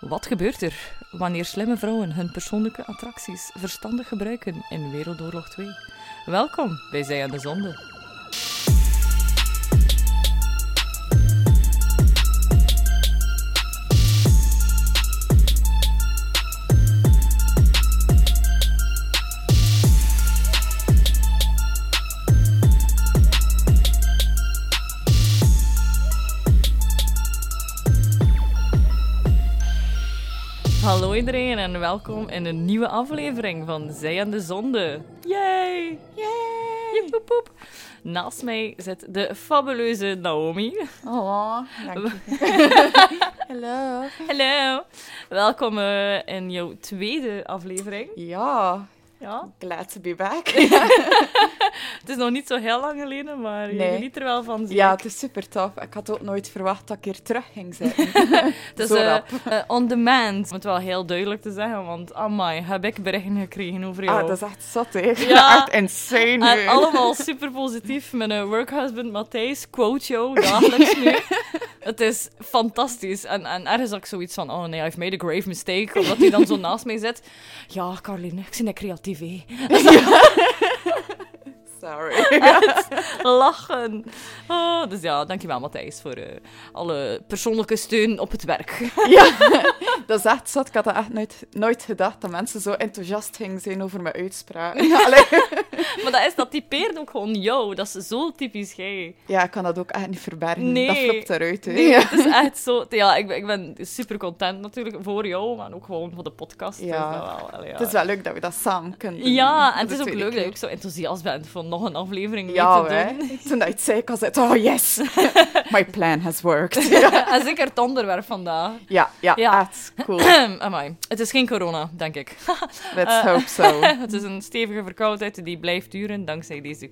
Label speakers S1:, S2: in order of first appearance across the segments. S1: Wat gebeurt er wanneer slimme vrouwen hun persoonlijke attracties verstandig gebruiken in Wereldoorlog 2? Welkom bij Zij aan de Zonde. Hallo iedereen en welkom in een nieuwe aflevering van Zij aan de Zonde. Yay! Yay! Joep, joep. Naast mij zit de fabuleuze Naomi.
S2: Oh, dank je. Hallo.
S1: Hallo! Welkom eh, in jouw tweede aflevering.
S2: Ja,
S1: Ja.
S2: glad to be back.
S1: Het is nog niet zo heel lang geleden, maar je
S2: Nee.
S1: geniet er wel van. zie
S2: ja,
S1: ik.
S2: het is super tof. Ik had ook nooit verwacht dat ik hier terug ging zitten.
S1: het is
S2: zo
S1: eh,
S2: rap.
S1: eh, on demand. Om het wel heel duidelijk te zeggen, want amai, heb ik berichten gekregen over jou.
S2: Ah, dat is echt zot, hè.
S1: Ja.
S2: Echt insane
S1: En
S2: nu.
S1: allemaal super positief. Mijn eh, workhusband Matthijs quote jou dagelijks nu. Het is fantastisch. En, en ergens had ik zoiets van, oh nee, I've made a grave mistake. Omdat hij dan zo naast mij zit. Ja, Caroline, ik ben een creatief, hè.
S2: Sorry.
S1: Lachen. Oh, dus ja, dankjewel Matthijs voor eh, alle persoonlijke steun op het werk.
S2: ja, dat is echt zot. Ik had dat echt nooit, nooit gedacht, dat mensen zo enthousiast gingen zijn over mijn uitspraak. Allee.
S1: Maar dat, is, dat typeert ook gewoon jou. Dat is zo typisch jij.
S2: Ja, ik kan dat ook echt niet verbergen.
S1: Nee.
S2: Dat flopt eruit, hè.
S1: Nee,
S2: Ja.
S1: Het is echt zo... Ja, ik ben, ik ben super content natuurlijk voor jou, maar ook gewoon voor de podcast.
S2: Ja.
S1: Dus dat wel, allee, ja.
S2: Het is wel leuk dat we dat samen kunnen doen.
S1: Ja, en
S2: Voor
S1: het
S2: de
S1: is ook
S2: tweede
S1: leuk dat
S2: keer.
S1: je ook zo enthousiast bent van nog een aflevering mee
S2: Ja,
S1: te
S2: hè.
S1: doen.
S2: Toen dat je het zei, ik was het, oh yes, my plan has worked. Ja,
S1: en zeker het onderwerp vandaag.
S2: ja,
S1: Ja.
S2: echt cool.
S1: Amai. Het is geen corona, denk ik.
S2: Let's
S1: Eh.
S2: hope so.
S1: het is een stevige verkoudheid die blijft duren dankzij deze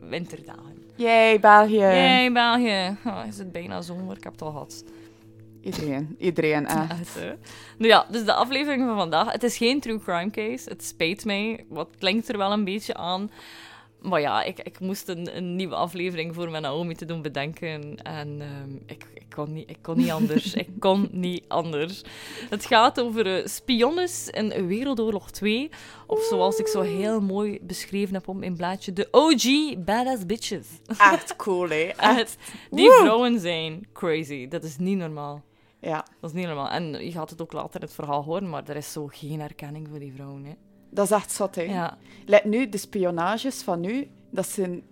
S1: winterdagen.
S2: Yay, België.
S1: Jee, België. Oh, is het bijna zomer? Ik heb het al gehad.
S2: Iedereen, iedereen, eh.
S1: Echt, hè? Nou ja, dus de aflevering van vandaag. Het is geen true crime case. Het spijt mij. Wat klinkt er wel een beetje aan. Maar ja, ik, ik moest een, een nieuwe aflevering voor mijn Naomi te doen bedenken. En ehm, ik, ik, kon niet, ik kon niet anders. ik kon niet anders. Het gaat over eh, spionnes in Wereldoorlog 2. Of zoals ik zo heel mooi beschreven heb op mijn blaadje, de OG Badass Bitches.
S2: Echt cool, hè. Echt.
S1: Echt, die
S2: Woe!
S1: vrouwen zijn crazy. Dat is niet normaal.
S2: Ja,
S1: Dat is niet normaal. En je gaat het ook later in het verhaal horen, maar er is zo geen herkenning voor die vrouwen. Hè.
S2: dat is echt zot, hè.
S1: Ja.
S2: Let nu, de spionages van nu, dat zijn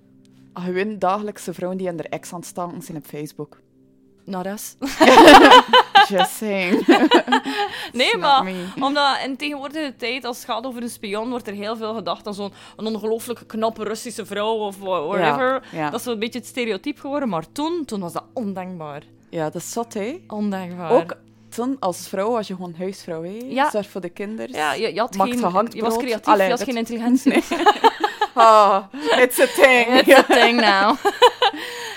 S2: gewoon dagelijkse vrouwen die aan haar ex aan het stanken zijn op Facebook.
S1: Naras.
S2: Just saying.
S1: Nee,
S2: Snap
S1: maar
S2: me.
S1: omdat in tegenwoordige tijd, als het gaat over een spion, wordt er heel veel gedacht aan zo'n een ongelooflijke knappe Russische vrouw of wha- whatever.
S2: ja.
S1: Dat is wel een beetje het stereotype geworden, maar toen, toen was dat ondenkbaar.
S2: Ja, dat is zot, hè.
S1: Ondenkbaar.
S2: Ook toen, als vrouw, was je gewoon huisvrouw, hè.
S1: Ja.
S2: Zorg voor de kinderen.
S1: ja, je, je had
S2: Maakt
S1: geen,
S2: gehaktbrood.
S1: je was creatief,
S2: Allee,
S1: je had
S2: dat-
S1: geen intelligentie.
S2: Ah, it's a thing.
S1: It's a thing now.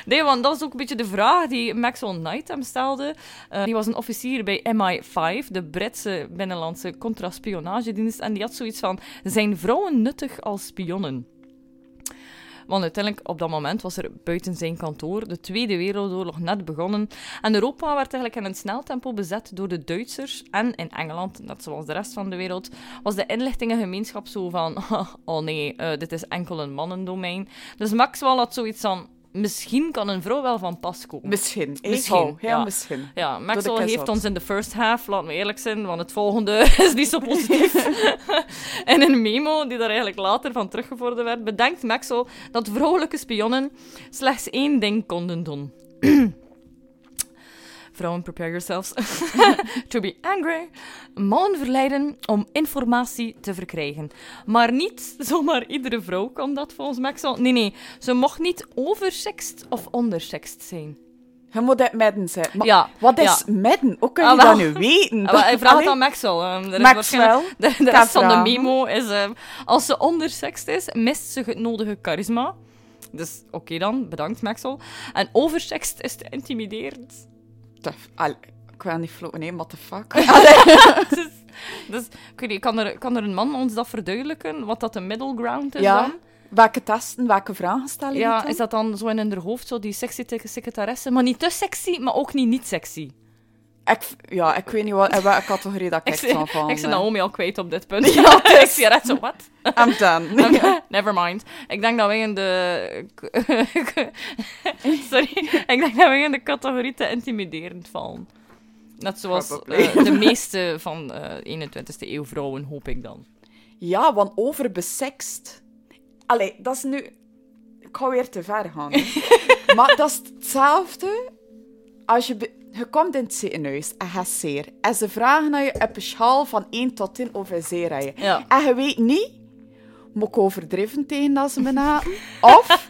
S1: Nee, want dat was ook een beetje de vraag die Maxwell Knight hem stelde. Eh, die was een officier bij MI5, de Britse binnenlandse contraspionagedienst. En die had zoiets van, zijn vrouwen nuttig als spionnen? Want uiteindelijk, op dat moment, was er buiten zijn kantoor de Tweede Wereldoorlog net begonnen. En Europa werd eigenlijk in een snel tempo bezet door de Duitsers. En in Engeland, net zoals de rest van de wereld, was de inlichtingengemeenschap zo van... Oh nee, eh, dit is enkel een mannendomein. Dus Maxwell had zoiets van... Misschien kan een vrouw wel van pas komen.
S2: Misschien. hè.
S1: Misschien,
S2: Oh, heel
S1: ja.
S2: misschien.
S1: Ja, Maxwell
S2: Doe de
S1: heeft
S2: kerst op.
S1: ons in de first half, laat me eerlijk zijn, want het volgende is niet zo positief. en een memo die daar eigenlijk later van teruggevorderd werd, bedenkt Maxwell dat vrouwelijke spionnen slechts één ding konden doen. Vrouwen, prepare yourselves to be angry. Mannen verleiden om informatie te verkrijgen. Maar niet zomaar iedere vrouw kon dat volgens Maxwell. Nee, nee. Ze mocht niet oversext of ondersext zijn.
S2: Je moet het midden zetten. Maar
S1: Ja,
S2: Wat is
S1: ja.
S2: midden? Hoe kun je
S1: Ah, wel.
S2: dat nu weten?
S1: Ah, wel, ik vraag het
S2: Allee,
S1: aan Maxwell. ehm, er is
S2: Maxwell.
S1: waarschijnlijk- De, de
S2: Kan
S1: rest van de
S2: vragen.
S1: memo is... ehm, als ze ondersext is, mist ze het nodige charisma. Dus oké dan, bedankt Maxwell. En oversext is te intimiderend.
S2: Tof. Allee, Ik wil niet floten, nee, what the fuck?
S1: dus dus ik weet niet, kan, er, kan er een man ons dat verduidelijken? Wat dat de middle ground is
S2: ja.
S1: dan?
S2: Welke testen, welke vragen stellen je
S1: Ja,
S2: dan?
S1: is dat dan zo in hun hoofd, zo die sexy tegen secretaresse? Maar niet te sexy, maar ook niet niet sexy.
S2: Ik, ja, ik weet niet wat, in welke categorie dat ik,
S1: Ik
S2: echt van
S1: zit,
S2: val.
S1: ik zit
S2: hè.
S1: Naomi al kwijt op dit punt.
S2: Ja, het
S1: ik
S2: is-
S1: zie recht zo, wat?
S2: I'm done.
S1: Never mind. Ik denk dat wij in de... Sorry. Ik denk dat wij in de categorie te intimiderend vallen. Net zoals
S2: Probably.
S1: eh, de meeste van eh 21e eeuw vrouwen, hoop ik dan.
S2: Ja, want overbesext. Allee, dat is nu... Ik ga weer te ver gaan. hè. maar dat is hetzelfde als je... be- Je komt in het ziekenhuis en je hebt zeer. En ze vragen aan je op een schaal van 1 tot 10 hoeveel zeer heb je.
S1: Ja.
S2: En je weet niet... Moet ik overdreven tegen dat ze me naten? Of...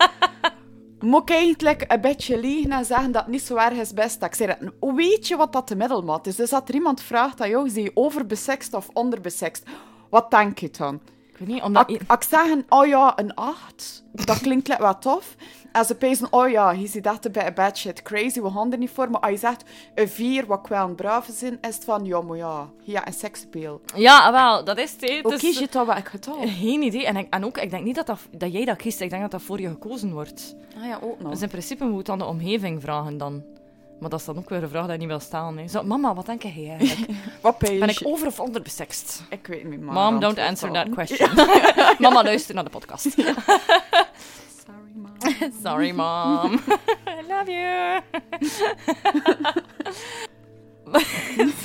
S2: Moet ik eigenlijk een beetje liegen en zeggen dat het niet zo erg is best dat ik zeer heb? Hoe weet je wat dat de middelmaat is? Dus dat er iemand vraagt aan jou, zie je overbesext of onderbesext? Wat denk je dan?
S1: Ik weet niet, omdat...
S2: Ak- Als ik zeg, een- oh ja, een 8, dat klinkt like wat tof. En ze pezen, oh ja, hier zit echt een bit bad shit crazy, we gaan er niet voor. Maar als je zegt, een 4, wat ik wel een brave zin, is het van, ja, maar ja, ja, een seksbeeld.
S1: Ja, wel, dat is het. hè. Het
S2: Hoe
S1: is- Eh,
S2: kies je toch welk getal?
S1: Geen idee. En, ik- en ook, ik denk niet dat, dat, dat jij dat kiest. Ik denk dat dat voor je gekozen wordt.
S2: Ah ja, ook nog.
S1: Dus in principe moet je het aan de omgeving vragen dan. Maar dat is dan ook weer een vraag die je niet wil staan. Hè. Zo, mama, wat denk jij eigenlijk?
S2: Wat pees
S1: Ben ik
S2: je?
S1: over of onderbesext?
S2: Ik weet niet, maar...
S1: Mom, don't
S2: antwoord
S1: answer
S2: dan.
S1: that question. mama, luister naar de podcast.
S2: Sorry, mom.
S1: Sorry, mom. I love you.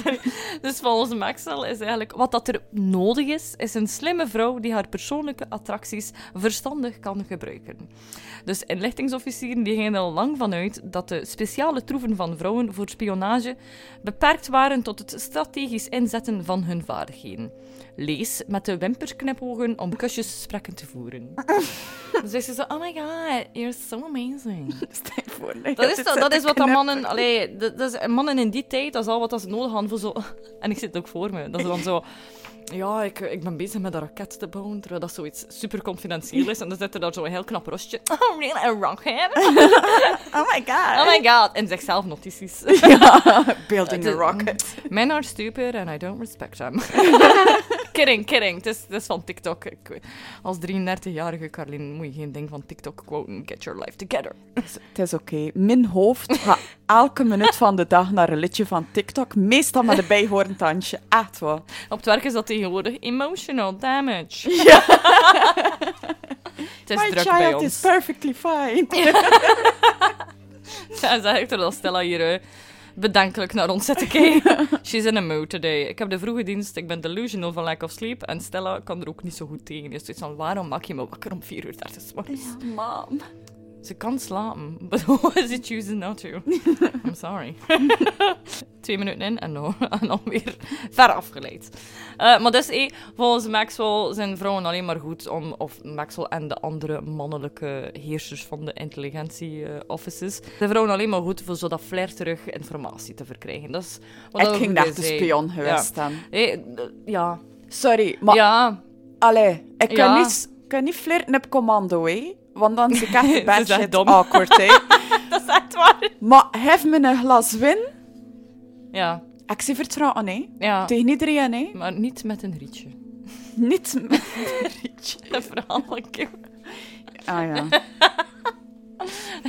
S1: Sorry. dus volgens Maxwell is eigenlijk wat dat er nodig is, is een slimme vrouw die haar persoonlijke attracties verstandig kan gebruiken. Dus inlichtingsofficieren die gingen er al lang vanuit dat de speciale troeven van vrouwen voor spionage beperkt waren tot het strategisch inzetten van hun vaardigheden. Lees met de wimpersknipogen om kusjes spreken te voeren. Dus is ze zo, oh my god, you're so amazing.
S2: Stel voor,
S1: Dat is,
S2: dit
S1: dat, dat
S2: zit
S1: is
S2: te
S1: wat dat
S2: knippen.
S1: mannen, allee, dat, dat is, mannen in die tijd, dat is al wat dat ze nodig hadden voor zo... En ik zit het ook voor me, dat ze dan zo... Ja, ik, ik ben bezig met een raket te bouwen, terwijl dat zoiets super confidentieel is. En dan zit er daar zo'n heel knap rostje. Oh, really? Een rocket?
S2: Oh my god.
S1: Oh my god. En zichzelf notities.
S2: Building a
S1: Oh Het is-
S2: rocket.
S1: Men are stupid and I don't respect them. kidding, kidding. Het is, het is van TikTok. Ik- als 33-jarige Carlin moet je geen ding van TikTok quoten. Get your life together.
S2: Het is oké. Mijn hoofd gaat elke minuut van de dag naar een liedje van TikTok. Meestal met een bijhorend tandje. Echt wel.
S1: Op het werk is dat tegenwoordig emotional damage.
S2: Ja.
S1: Het is
S2: My
S1: druk
S2: child
S1: bij ons.
S2: is perfectly fine.
S1: Ja, ze echt terwijl Stella hier eh, bedenkelijk naar ons zit te kijken. She's in a mood today. Ik heb de vroege dienst, ik ben delusional van lack of sleep. En Stella kan er ook niet zo goed tegen. Dus van, waarom maak je me wakker om 4 uur 30 's morgens?
S2: Mam.
S1: Ze kan slapen, but why is it choosing not to? I'm sorry. Twee minuten in en, no, en alweer ver afgeleid. Eh, maar dus, eh, volgens Maxwell zijn vrouwen alleen maar goed om, of Maxwell en de andere mannelijke heersers van de intelligentie-offices, zijn vrouwen alleen maar goed voor zo dat flairterig informatie te verkrijgen. Dat is wat
S2: Ik
S1: dat
S2: ging dus
S1: ongeveer
S2: naar de
S1: zei.
S2: spion geweest dan.
S1: Eh, d- ja.
S2: Sorry, maar
S1: ja,
S2: allee, ik kan,
S1: Ja.
S2: niet, s- ik kan niet flirten op commando, hè. Want dan zit ik echt de
S1: Ze
S2: bad
S1: zijn
S2: shit
S1: dom.
S2: awkward, hè.
S1: dat is echt waar.
S2: Maar hef me een glas win.
S1: Ja,
S2: Ik zie vertrouwen, hè.
S1: ja.
S2: Tegen iedereen, hè.
S1: Maar niet met een rietje.
S2: Niet met een rietje.
S1: Dat verhaal van Kim.
S2: Ah ja.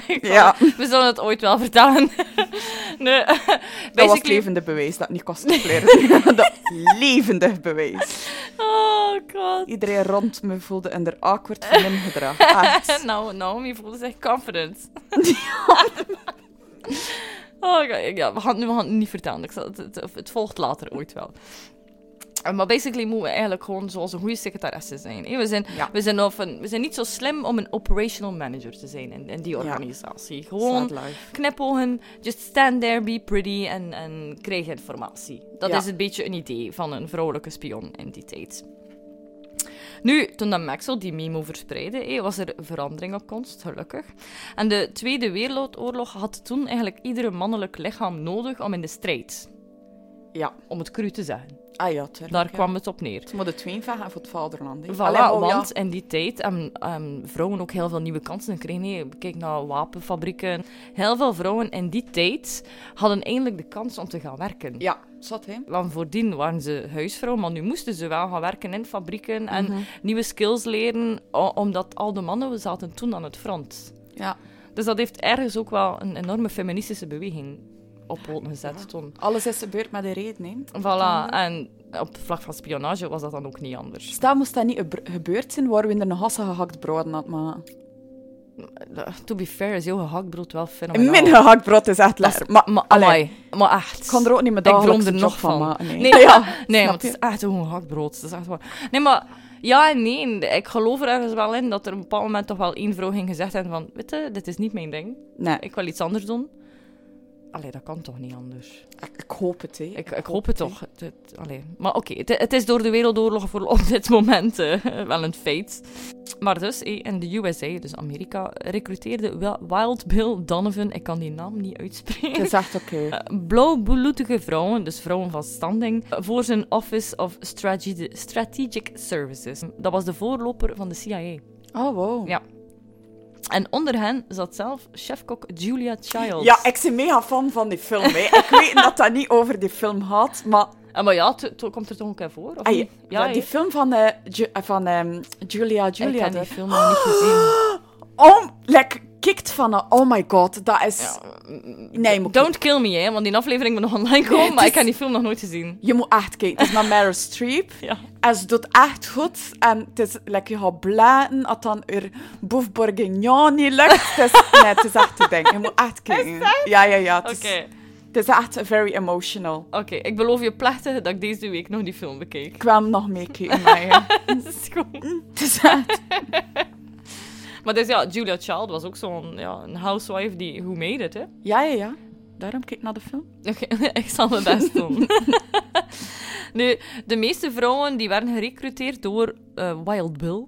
S1: Ik
S2: Ja.
S1: zal- We zullen het ooit wel vertellen. nee,
S2: Dat was
S1: basically...
S2: levende bewijs dat het niet kost te flirten. dat levendig bewijs.
S1: Oh god.
S2: Iedereen rond me voelde en er awkward van in gedrag. Echt.
S1: Nou, Naomi voelde zich confident. oh god, ja, we gaan, het- we gaan het niet vertellen. Ik zal, het, het, het volgt later ooit wel. Eh, Maar basically moeten we eigenlijk gewoon zoals een goede secretaresse zijn. hè. We zijn,
S2: Ja.
S1: we, zijn of een, we zijn niet zo slim om een operational manager te zijn in, in die organisatie. Gewoon
S2: Sad life.
S1: knipogen, just stand there, be pretty en, en krijg informatie. Dat
S2: Ja.
S1: is een beetje een idee van een vrouwelijke spion in die tijd. Nu, toen dat Maxwell die memo verspreidde, hé, was er verandering op komst, gelukkig. En de Tweede Wereldoorlog had toen eigenlijk iedere mannelijk lichaam nodig om in de strijd,
S2: Ja.
S1: om het cru te zeggen.
S2: Ah ja, tuurlijk,
S1: Daar
S2: ja.
S1: kwam het op neer.
S2: Ze moeten twee vragen voor het vaderland. hè.
S1: Voilà,
S2: Allee, oh, ja.
S1: want in die tijd hebben hebben vrouwen ook heel veel nieuwe kansen gekregen. hè. Kijk naar wapenfabrieken. Heel veel vrouwen in die tijd hadden eindelijk de kans om te gaan werken.
S2: Ja, zat hè.
S1: Want voordien waren ze huisvrouw, maar nu moesten ze wel gaan werken in fabrieken en
S2: Mhm.
S1: nieuwe skills leren, o- omdat al de mannen zaten toen aan het front.
S2: Ja.
S1: Dus dat heeft ergens ook wel een enorme feministische beweging op poten gezet
S2: Ja.
S1: toen.
S2: Alles is gebeurd met een reden, hè.
S1: Voilà, en op vlak van spionage was dat dan ook niet anders.
S2: Stel, moest Dus dat niet gebe- gebeurd zijn, waren we in de hassen gehakt brood aan het maken.
S1: To be fair is heel gehaktbrood wel fenomenaal.
S2: Mijn gehakt brood is echt lekker. Maar,
S1: maar,
S2: allee,
S1: amai, maar echt.
S2: ik kan er ook niet meer
S1: Ik droom
S2: dagelijks
S1: er
S2: een
S1: nog
S2: job van
S1: van.
S2: maken. Nee,
S1: Nee,
S2: ja,
S1: Nee,
S2: snap
S1: want het is echt gewoon gehaktbrood. Het is echt waar. Nee, maar ja en nee. Ik geloof er ergens wel in dat er op een bepaald moment toch wel één vrouw ging gezegd hebben van... Weet je, dit is niet mijn ding.
S2: je? Nee, ik,
S1: Ik wil iets anders doen. Allee, dat kan toch niet anders?
S2: ik hoop het, hè.
S1: Ik, ik hoop het
S2: hè.
S1: toch. Het, het- allee. Maar oké, het, het is door de Wereldoorlog voor op dit moment eh, wel een feit. Maar dus, eh, in de USA, dus Amerika, recruteerde Wi- Wild Bill Donovan... Ik kan die naam niet uitspreken.
S2: Het is echt oké.
S1: Eh, blauwbloedige vrouwen, dus vrouwen van standing, eh, voor zijn Office of Strate- Strategic Services. Dat was de voorloper van de CIA.
S2: Oh, wow.
S1: Ja. En onder hen zat zelf chefkok Julia Childs.
S2: Ja, ik ben mega fan van die film. Hè. Ik weet dat dat niet over die film gaat, maar
S1: Eh, maar ja, het het komt er toch een keer voor? Of
S2: Ah, ja.
S1: niet? ja,
S2: die
S1: hè?
S2: film van, eh, Ju- eh, van ehm, Julia
S1: ik
S2: Julia.
S1: heb die
S2: daar.
S1: film nog niet gezien.
S2: Oh, like, kikt van, eh, oh my god, dat is...
S1: Ja,
S2: nee, je moet,
S1: Don't kill me, hè, want die aflevering moet nog online komen,
S2: Nee, het
S1: maar ik
S2: is-
S1: heb die film nog nooit gezien.
S2: je moet echt kijken. Het is naar Meryl Streep.
S1: Ja.
S2: En ze doet echt goed. En het is, like, je gaat blaten, als dan er boef bourguignon niet lukt. Het is, nee, het is echt te ding. Je moet echt kijken. Ja, ja, ja. Het,
S1: Oké,
S2: is- het is echt very emotional.
S1: oké. Ik beloof je plechtig dat ik deze week nog die film bekeek.
S2: Ik wil hem nog meekijken, maar ja.
S1: Dat Mm, is goed.
S2: Het is echt...
S1: Maar dus ja, Julia Child was ook zo'n ja, een housewife die who made it, hè?
S2: Ja, ja, ja. Daarom kijk ik naar de film.
S1: Oké, ik zal mijn best doen. nu, de meeste vrouwen die werden gerecruiteerd door eh, Wild Bill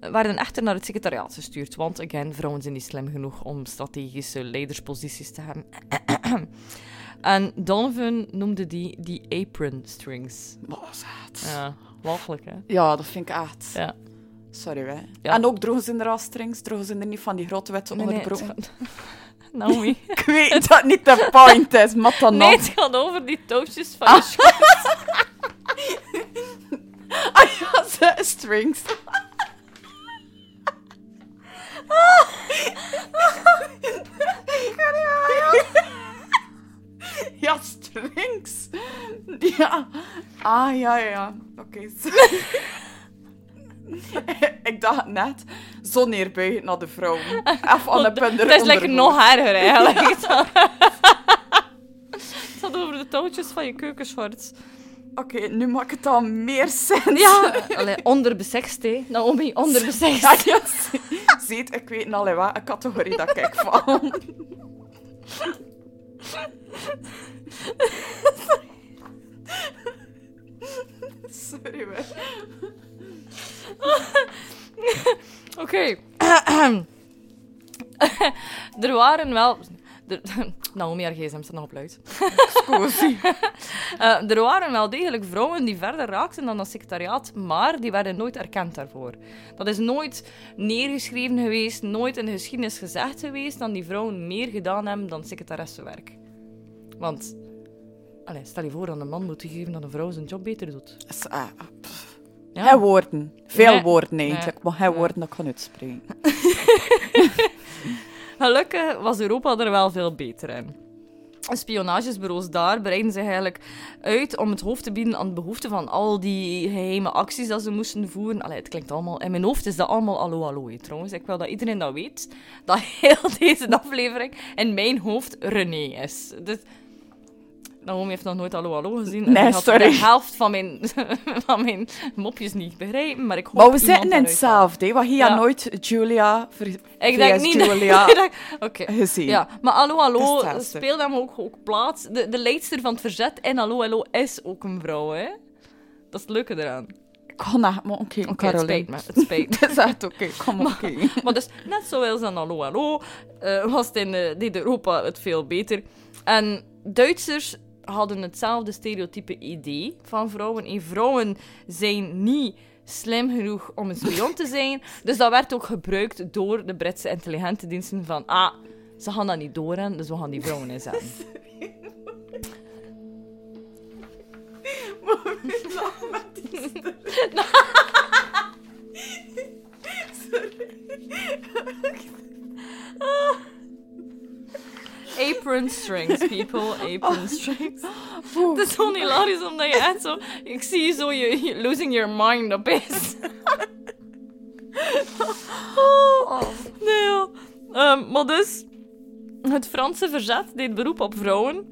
S1: eh, werden echter naar het secretariaat gestuurd. Want, again, vrouwen zijn niet slim genoeg om strategische leidersposities te hebben. en Donovan noemde die die apron strings.
S2: Maar dat is echt-
S1: Ja, walgelijk, hè?
S2: Ja, dat vind ik echt.
S1: Ja.
S2: Sorry, wij.
S1: Ja.
S2: En ook droegen ze er al strings, droegen ze er niet van die grote witte
S1: Nee, nee, het
S2: onderbroeken.
S1: gaat- Naomi.
S2: Ik weet dat het niet de point is, maar dan
S1: Nee,
S2: nog.
S1: het gaat over die touwtjes van je schoen.
S2: Ah ja, ze- strings. Ja, strings. Ja. Ah, ja, ja, ja. Oké. Ik dacht net, zo neerbuigend naar de vrouw. Af aan de punder.
S1: Het is lekker nog erger eigenlijk. Het gaat over de touwtjes van je keukenschort.
S2: Oké, nu maakt het al meer zin.
S1: Ja, allee, onderbesext, hè. Naomi, onderbesext.
S2: Ja, ja. Ziet, ik weet al wat een categorie dat ik van. Sorry, we.
S1: Oké. er waren wel... Er... Naomi, haar gsm staat nog op luid.
S2: Cozy.
S1: Eh, er waren wel degelijk vrouwen die verder raakten dan dat secretariaat, maar die werden nooit erkend daarvoor. Dat is nooit neergeschreven geweest, nooit in de geschiedenis gezegd geweest dat die vrouwen meer gedaan hebben dan secretaressenwerk. Want, allee, stel je voor dat een man moet toegeven dat een vrouw zijn job beter doet.
S2: S- ah, pff.
S1: Ja.
S2: Hij woorden. Veel
S1: Nee.
S2: woorden eigenlijk, maar hij woorden dat ik kan uitspreken.
S1: Gelukkig was Europa er wel veel beter in. Spionagebureaus daar breiden zich eigenlijk uit om het hoofd te bieden aan de behoefte van al die geheime acties dat ze moesten voeren. Allee, het klinkt allemaal... In mijn hoofd is dat allemaal allo allo, hè, trouwens. Ik wil dat iedereen dat weet, dat heel deze aflevering in mijn hoofd René is. Dus... Naomi heeft nog nooit allo allo gezien. en
S2: Nee,
S1: die had
S2: sorry.
S1: de helft van mijn, van mijn mopjes niet begrijpen, maar ik hoop
S2: Maar we
S1: iemand
S2: zitten in
S1: daaruit haalt.
S2: hetzelfde, hè, wat hier
S1: Ja.
S2: nooit Julia ver-
S1: Ik denk
S2: vs
S1: niet...
S2: Julia
S1: Ik denk- Oké.
S2: gezien. Dus
S1: Ja, maar Allo
S2: Dat is
S1: Allo
S2: hetzelfde.
S1: speelt hem ook, ook plaats. De, de leidster van het verzet in Allo Allo is ook een vrouw, hè? Dat is het leuke eraan.
S2: Ik kon echt maar
S1: Oké,
S2: oké,
S1: het
S2: Caroline.
S1: spijt me, het spijt
S2: Dat is echt oké, kom oké.
S1: maar dus, net zoals in Allo Allo, eh, was het in eh, dit Europa het veel beter. En Duitsers hadden hetzelfde stereotype idee van vrouwen. En vrouwen zijn niet slim genoeg om een spion te zijn. Dus dat werd ook gebruikt door de Britse intelligentediensten van... Ah, ze gaan dat niet doorhebben, dus we gaan die vrouwen inzetten. apron strings, people.
S2: Oh.
S1: Apron strings. Het is gewoon hilarisch omdat je echt zo... Ik zie je zo je, je losing your mind op is. oh, nee, ja. Ehm, maar dus... Het Franse verzet deed beroep op vrouwen.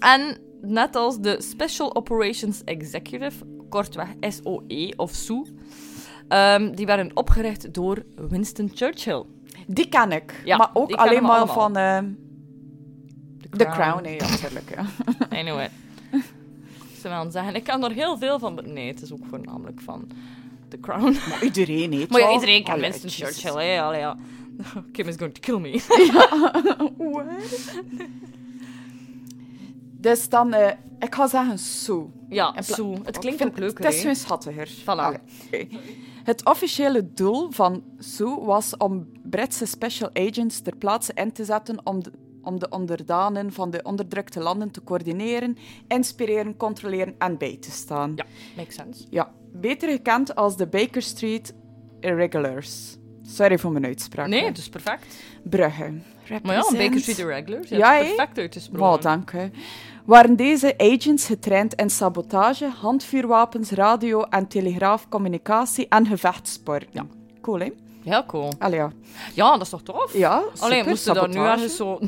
S1: En net als de Special Operations Executive, kortweg SOE of SOE... ehm, die werden opgericht door Winston Churchill.
S2: Die ken ik.
S1: Ja,
S2: maar ook
S1: die kennen
S2: alleen
S1: we
S2: maar
S1: allemaal.
S2: van ehm, The Crown. nee, ja, natuurlijk. Ja.
S1: Anyway. Ze wel zeggen, ik kan er heel veel van... be- Nee, het is ook voornamelijk van The Crown.
S2: Maar iedereen heet
S1: Maar ja,
S2: wel.
S1: iedereen kent
S2: Allee,
S1: Winston
S2: Jesus.
S1: Churchill, hè. Allee, ja. Kim is going to kill me.
S2: What? Dus dan, eh, ik ga zeggen zo.
S1: Ja,
S2: In pla-
S1: Sue. Het
S2: Ik
S1: klinkt
S2: vind-
S1: ook leuker,
S2: Het is
S1: hè.
S2: weer schattiger.
S1: Voilà.
S2: Allee, oké. Het officiële doel van Sue was om Britse special agents ter plaatse in te zetten om de, om de onderdanen van de onderdrukte landen te coördineren, inspireren, controleren en bij te staan.
S1: Ja, makes sense.
S2: Ja, beter gekend als de Baker Street Irregulars. Sorry voor mijn uitspraak.
S1: Nee,
S2: hè.
S1: het is perfect.
S2: Brugge.
S1: Maar ja, een Baker Street Irregulars. Ja,
S2: Ja,
S1: het is
S2: hè.
S1: perfect uitgesproken.
S2: Wow, dank u. Waren deze agents getraind in sabotage, handvuurwapens, radio- en telegraafcommunicatie en gevechtssport. Ja. Cool, hè?
S1: Heel cool.
S2: Allee, ja.
S1: Ja, dat is toch tof?
S2: Ja,
S1: Alleen
S2: super,
S1: moesten daar nu
S2: sabotage.
S1: ergens zo.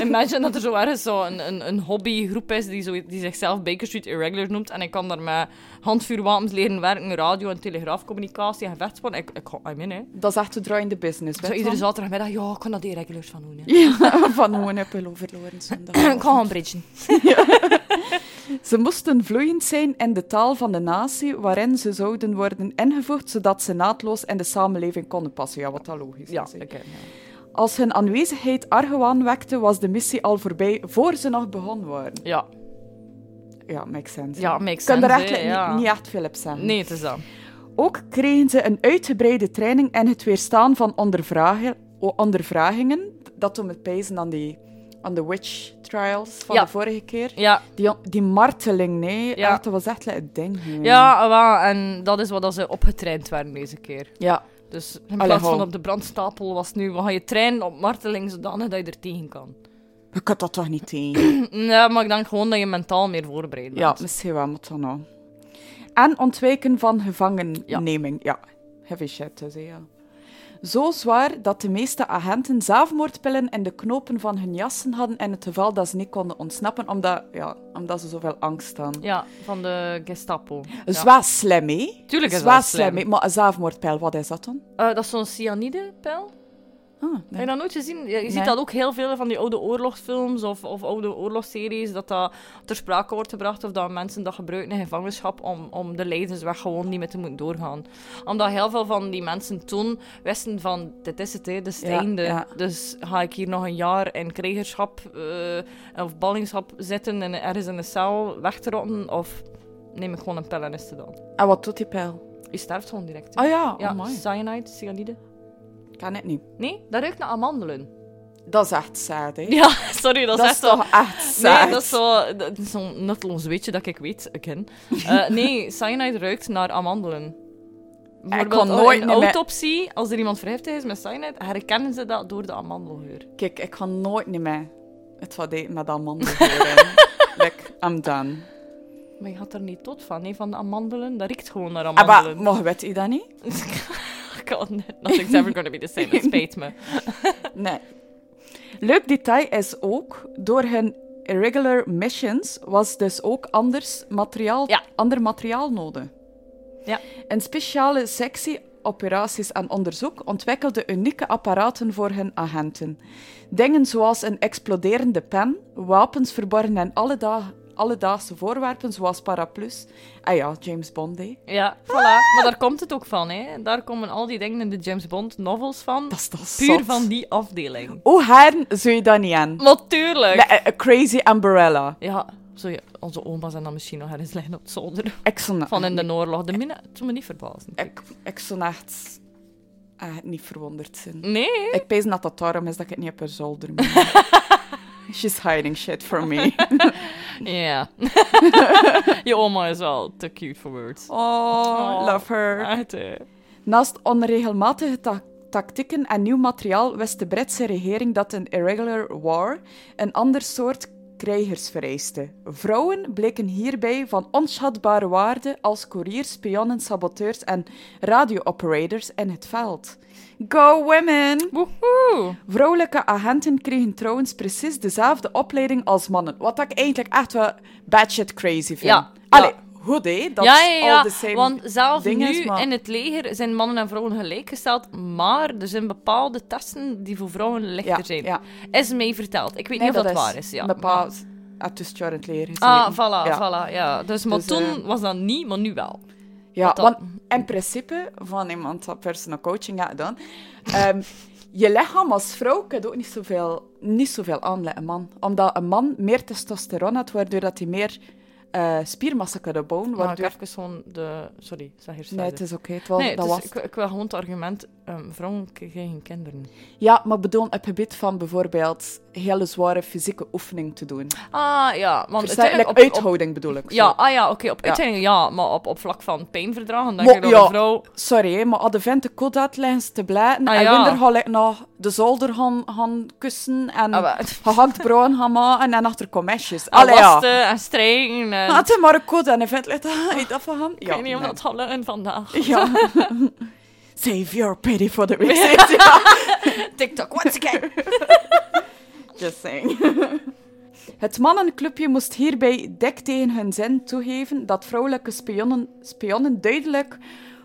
S1: Imagine dat er zo ergens zo een, een, een hobbygroep is die, zo, die zichzelf Baker Street Irregular noemt. En ik kan daar met handvuurwapens leren werken, radio en telegraafcommunicatie en gevechtspan. Ik, ik ga I'm in, hè.
S2: Dat is echt de draaiende business.
S1: Zo
S2: weet je
S1: iedere
S2: wel.
S1: zaterdagmiddag, ja, ik kan dat irregulars van doen. Hè.
S2: Ja, van hoe een pillow verloren zondag.
S1: Ik ga gaan bridgen.
S2: Ze moesten vloeiend zijn in de taal van de natie waarin ze zouden worden ingevoegd, zodat ze naadloos in de samenleving konden passen. Ja, wat dat logisch
S1: Ja,
S2: is. hè.
S1: oké.
S2: Als hun aanwezigheid argwaan wekte, was de missie al voorbij voor ze nog begonnen waren.
S1: ja.
S2: Ja, makes sense.
S1: Ja, makes
S2: Ik kan er
S1: sense,
S2: eigenlijk
S1: hè, ja.
S2: niet, niet echt veel op zeggen.
S1: Nee, het is dat.
S2: Ook kregen ze een uitgebreide training in het weerstaan van ondervragen, o- ondervragingen. Dat om het pijzen aan, die, aan de witch trials van
S1: Ja.
S2: de vorige keer.
S1: Ja,
S2: Die, die marteling, nee.
S1: Ja.
S2: Echt, dat was echt like het ding. hè.
S1: ja wel, en dat is wat dat ze opgetraind werden deze keer.
S2: ja.
S1: Dus in
S2: Allee,
S1: plaats
S2: hou.
S1: van op de brandstapel was het nu, we gaan je trainen op marteling zodanig dat je er tegen kan.
S2: Je kunt dat toch niet tegen?
S1: Ja, maar ik denk gewoon dat je mentaal meer voorbereid
S2: ja,
S1: bent.
S2: misschien wel, maar toch nou. En ontwijken van gevangenneming. Ja. Heavy shit, dus hè, ja. Zo zwaar dat de meeste agenten zelfmoordpillen in de knopen van hun jassen hadden in het geval dat ze niet konden ontsnappen, omdat, ja, omdat ze zoveel angst hadden.
S1: Ja, van de Gestapo. Ja.
S2: Zwaar slim, hè?
S1: Tuurlijk is
S2: Zwaar
S1: dat slim.
S2: hè. Maar een zelfmoordpijl, wat is dat dan?
S1: Eh, dat is zo'n cyanidepijl.
S2: Ah, nee.
S1: Heb je dat nooit gezien? Je, je ziet
S2: Nee.
S1: dat ook heel veel van die oude oorlogsfilms of, of oude oorlogsseries, dat dat ter sprake wordt gebracht of dat mensen dat gebruiken in gevangenschap om, om de lijdensweg gewoon niet meer te moeten doorgaan. Omdat heel veel van die mensen toen wisten van, dit is het, hè, dit is het
S2: Ja,
S1: einde.
S2: ja.
S1: Dus ga ik hier nog een jaar in kregerschap eh, of ballingschap zitten en ergens in een cel weg te rotten of neem ik gewoon een pil en is het dan.
S2: En wat doet die pijl?
S1: Je sterft gewoon direct. hè.
S2: Ah ja,
S1: ja,
S2: ja mooi.
S1: cyanide, cyanide.
S2: Kan het niet.
S1: Nee, dat ruikt naar amandelen.
S2: Dat is echt sad, hè?
S1: Ja, sorry, dat,
S2: dat
S1: is
S2: is
S1: echt zo...
S2: toch echt sad?
S1: Nee, dat is zo- dat is zo'n nutteloos weetje dat ik weet, ik ken. Eh, nee, cyanide ruikt naar amandelen. Bijvoorbeeld
S2: kon nooit
S1: in
S2: niet met-
S1: autopsie, als er iemand vergiftigd is met cyanide, herkennen ze dat door de amandelgeur.
S2: Kijk, ik ga nooit niet mee het wat eten met amandelen. like, I'm done.
S1: Maar je gaat er niet tot van, hè, van de amandelen. Dat ruikt gewoon naar
S2: Ah, maar,
S1: amandelen.
S2: maar weet je dat niet?
S1: God, nee, nothing's ever gonna be the same, het spijt me.
S2: Nee. Leuk detail is ook, door hun irregular missions was dus ook anders materiaal,
S1: Ja.
S2: ander materiaal nodig.
S1: Ja.
S2: Een speciale sectie operaties en onderzoek ontwikkelde unieke apparaten voor hun agenten. Dingen zoals een exploderende pen, wapens verborgen en alledag- alledaagse voorwerpen zoals paraplu's. Ah ja, James Bond, hè.
S1: Ja, voilà. Maar daar komt het ook van, hè. Daar komen al die dingen in de James Bond novels van.
S2: Dat is toch
S1: Puur
S2: zot.
S1: van die afdeling.
S2: Hoe hern zou je dat niet aan?
S1: Natuurlijk.
S2: Nee, een- een crazy umbrella.
S1: Ja, zo, ja, onze oma's en dan misschien nog ergens liggen op het zolder.
S2: Ik zou na-
S1: Van in de oorlog. De minne, het zou me niet verbazen.
S2: Ik, ik zou echt, echt niet verwonderd zijn.
S1: Nee.
S2: Ik pees dat dat daarom is dat ik het niet op haar zolder moet. She's hiding shit from me.
S1: Ja. Je oma is wel te cute for words.
S2: Oh, love her.
S1: Echt, hè.
S2: Naast onregelmatige ta- tactieken en nieuw materiaal wist de Britse regering dat een irregular war een ander soort krijgers vereiste. Vrouwen bleken hierbij van onschatbare waarde als couriers, spionnen, saboteurs en radio-operators in het veld. Go women!
S1: Woehoe!
S2: Vrouwelijke agenten kregen trouwens precies dezelfde opleiding als mannen. Wat ik eigenlijk echt wel batshit crazy vind.
S1: Ja,
S2: Allee,
S1: ja.
S2: goed hé, dat
S1: ja, ja, ja.
S2: al de same
S1: want zelf
S2: dinges,
S1: nu
S2: maar-
S1: in het leger zijn mannen en vrouwen gelijkgesteld, maar er zijn bepaalde testen die voor vrouwen lichter
S2: ja,
S1: zijn.
S2: ja.
S1: Is mij verteld. Ik weet
S2: Nee,
S1: niet of dat,
S2: is
S1: waar is. Ja.
S2: Mijn pa had dus het jaar in het leren gezeten.
S1: Ah, voilà,
S2: Ja.
S1: voilà. Ja. Dus, maar
S2: Dus,
S1: toen
S2: eh,
S1: was dat niet, maar nu wel.
S2: Ja,
S1: Wat dan?
S2: want in principe, van iemand dat personal coaching had gedaan, ehm, je lichaam als vrouw kan ook niet zoveel, niet zoveel aan dan een man. Omdat een man meer testosteron had, waardoor dat hij meer eh, spiermassa kan opbouwen.
S1: Maar
S2: Waardoor...
S1: Ah, ik even gewoon de... Sorry, zeg hier
S2: Nee,
S1: verder.
S2: het is oké. het was-
S1: Nee,
S2: dat
S1: dus
S2: was...
S1: ik, ik wil gewoon het argument, ehm vrouwen krijgen geen kinderen.
S2: Ja, maar bedoel, op het gebied van bijvoorbeeld hele zware fysieke oefening te doen.
S1: Ah, ja. Want
S2: Versta-
S1: uiteindelijk
S2: like
S1: op- op-
S2: uithouding bedoel ik.
S1: Ja,
S2: zo.
S1: ah ja, oké. op
S2: Ja.
S1: uiteindelijk ja, maar op, op vlak van pijn verdragen, denk
S2: Mo-
S1: ik dat
S2: ja.
S1: een vrouw...
S2: Sorry, hè, maar als de vent de kot uit lijns te blijten
S1: Ah,
S2: en
S1: ja.
S2: winder gaan like, nog de zolder gaan, gaan kussen en
S1: Ah, maar-
S2: gehakt brood gaan maken en achter kommesjes.
S1: Al
S2: Mm. Allee, ja.
S1: lasten en strijken. En...
S2: Had hij maar een kot en een vent ligt ah, eet dat van hem?
S1: ik weet niet of dat gaat lukken vandaag.
S2: nee. Ja. Save your pity for the recess. ja.
S1: TikTok, once again.
S2: Just saying. Het mannenclubje moest hierbij dik tegen hun zin toegeven dat vrouwelijke spionnen, spionnen duidelijk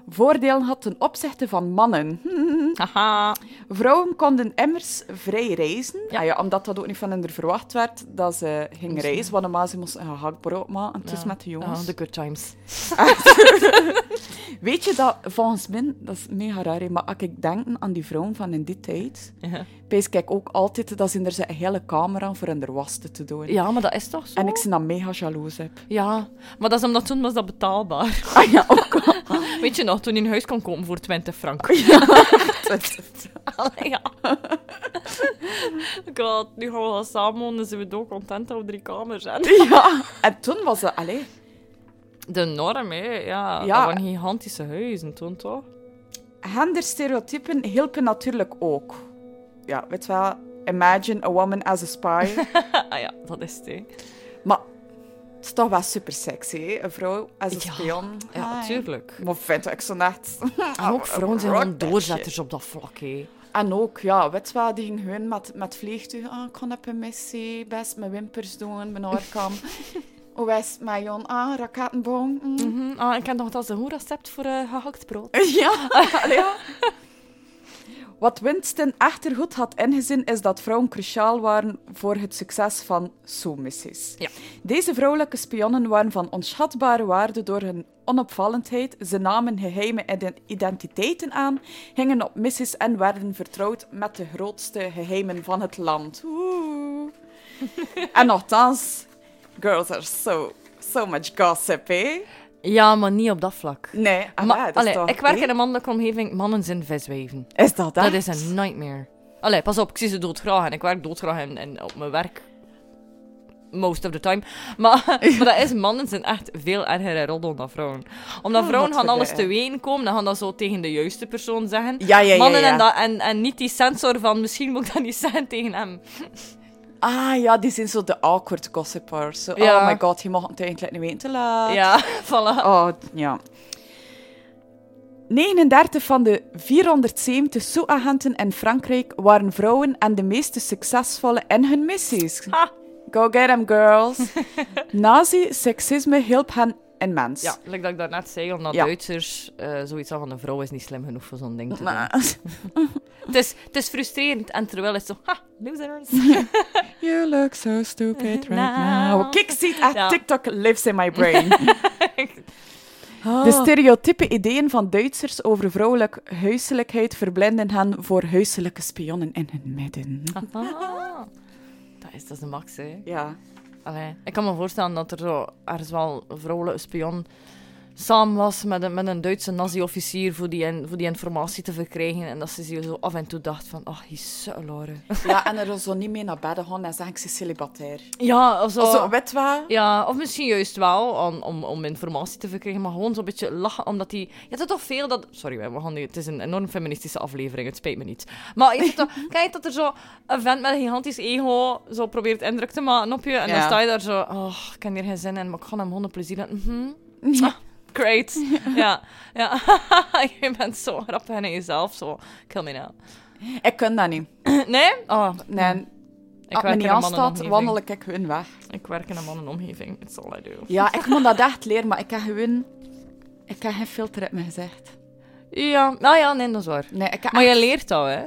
S2: voordelen had ten opzichte van mannen. Hmm.
S1: Haha.
S2: Vrouwen konden immers vrij reizen.
S1: Ja.
S2: Ja. ja, omdat dat ook niet van hen er verwacht werd dat ze gingen reizen. Want normaal ze moesten een gehaktbrood maken. Het is met de jongens.
S1: Ah, the good times.
S2: Weet je dat, volgens mij, dat is mega raar, hè, maar als ik denk aan die vrouwen van in die tijd,
S1: Ja.
S2: pees ik ook altijd dat ze er zijn hele kamer aan voor hun wassen te doen.
S1: Ja, maar dat is toch zo?
S2: En ik ze dan mega jaloers heb.
S1: Ja, maar dat is omdat toen was dat betaalbaar.
S2: Ah ja, ook al.
S1: Weet je nog, toen je in huis kon komen voor 20 frank. Allee, ja. God, nu gaan we wel samen wonen, dan zijn we dood content dat we drie kamers hebben.
S2: ja. En toen was dat, allee,
S1: De norm, hè. Ja,
S2: Ja.
S1: dat waren gigantische huizen toen, toch?
S2: genderstereotypen hielpen natuurlijk ook. Ja, weet je wel, imagine a woman as a spy.
S1: ah ja, dat is het, hè.
S2: maar het is toch wel super sexy, hè, een vrouw als een
S1: Ja.
S2: spion.
S1: Ja,
S2: Hi. Ah,
S1: natuurlijk.
S2: Maar vind ik zo echt...
S1: En ook vrouwen zijn gewoon
S2: Rock that
S1: doorzetters op dat vlak, hè.
S2: En ook, ja, weet je wel, die ging hun met, met vliegtuigen. Ah, ik ga op een missie, best mijn wimpers doen, mijn oorkam. Hoe is het met Jon? Ah, rakettenboom. mm.
S1: Mhm. Ah, ik heb nog dat ze een goed recept voor eh, gehakt brood.
S2: Ja, allee, ja. Wat Winston echter goed had ingezien, is dat vrouwen cruciaal waren voor het succes van SOE-missies.
S1: Ja.
S2: Deze vrouwelijke spionnen waren van onschatbare waarde door hun onopvallendheid. Ze namen geheime ide- identiteiten aan, gingen op missies en werden vertrouwd met de grootste geheimen van het land. Oeh. en nogthans, girls are so, so much gossip, hè?
S1: Ja, maar niet op dat vlak.
S2: Nee, ah,
S1: Maar,
S2: ja, dat is
S1: allee,
S2: toch-
S1: ik werk in een mannelijke omgeving, mannen zijn viswijven.
S2: Is dat
S1: Dat
S2: echt?
S1: is een nightmare. Allee, pas op, ik zie ze doodgraag en ik werk doodgraag en, en op mijn werk. Most of the time. Maar, maar dat is, mannen zijn echt veel erger in roddel dan vrouwen. Omdat
S2: Oh,
S1: vrouwen
S2: wat
S1: gaan alles te
S2: verder.
S1: ween komen, dan gaan dat zo tegen de juiste persoon zeggen.
S2: Ja, ja, ja,
S1: Mannen
S2: ja.
S1: En, dat, en, en niet die sensor van misschien moet ik dat niet zeggen tegen hem.
S2: Ah ja, die zijn zo de awkward gossipers. Zo,
S1: Ja.
S2: Oh my god, je mag het eigenlijk niet weten te laat.
S1: Ja, voilà.
S2: Oh, ja. 39 van de 470 SOE-agenten in Frankrijk waren vrouwen en de meeste succesvolle in hun missies.
S1: Ha.
S2: Go get 'em, girls. Nazi-seksisme hielp hen immens.
S1: Ja, like dat ik daarnet zei, omdat
S2: Ja.
S1: Duitsers eh, zoiets hadden van een vrouw is niet slim genoeg voor zo'n ding te doen.
S2: Maar-
S1: Het, is, het is frustrerend en terwijl is het zo, ha, losers.
S2: You look so stupid right
S1: Now.
S2: now. Kijk, ziet echt
S1: Ja.
S2: TikTok lives in my brain. De
S1: Oh.
S2: stereotype ideeën van Duitsers over vrouwelijk huiselijkheid verblinden hen voor huiselijke spionnen in hun midden.
S1: Ah, dat, is, dat is de max, hè.
S2: Ja.
S1: Allee, ik kan me voorstellen dat er zo ergens wel een vrouwelijke spion samen was met een, met een Duitse nazi-officier voor die, in- voor die informatie te verkrijgen. En dat ze zich zo af en toe dacht van, "Ah, ach, je zuiloren.
S2: Ja, en er zo niet mee naar bed gaan en zeggen, ik ben celibatair.
S1: Ja, of zo.
S2: Of zo, weet wat?
S1: Ja, of misschien juist wel om, om, om informatie te verkrijgen, maar gewoon zo'n beetje lachen, omdat die... Je hebt er toch veel dat... Sorry, we gaan nu, het is een enorm feministische aflevering, het spijt me niet. Maar je hebt er toch, kijk dat er zo een vent met een gigantisch ego zo probeert indruk te maken op je, en dan
S2: Ja.
S1: sta je daar zo, oh, ik heb hier geen zin in, maar ik ga hem gewoon plezier laten. Mhm. Ah, great. Ja, ja. je bent zo grappig in jezelf, zo. Kill me now.
S2: Ik kan dat niet.
S1: Nee? Oh,
S2: Nee,
S1: ik
S2: als me
S1: werk
S2: niet
S1: in een
S2: aanstaat, wandel
S1: mannenomgeving.
S2: ik hun weg.
S1: Ik werk in een mannenomgeving, it's all I do.
S2: Ja, ik moet dat echt leren, maar ik heb gewoon... Ik heb geen filter op mijn gezicht.
S1: Ja, nou ja, nee, dat is waar.
S2: Nee, ik heb
S1: Maar je leert dat, hè?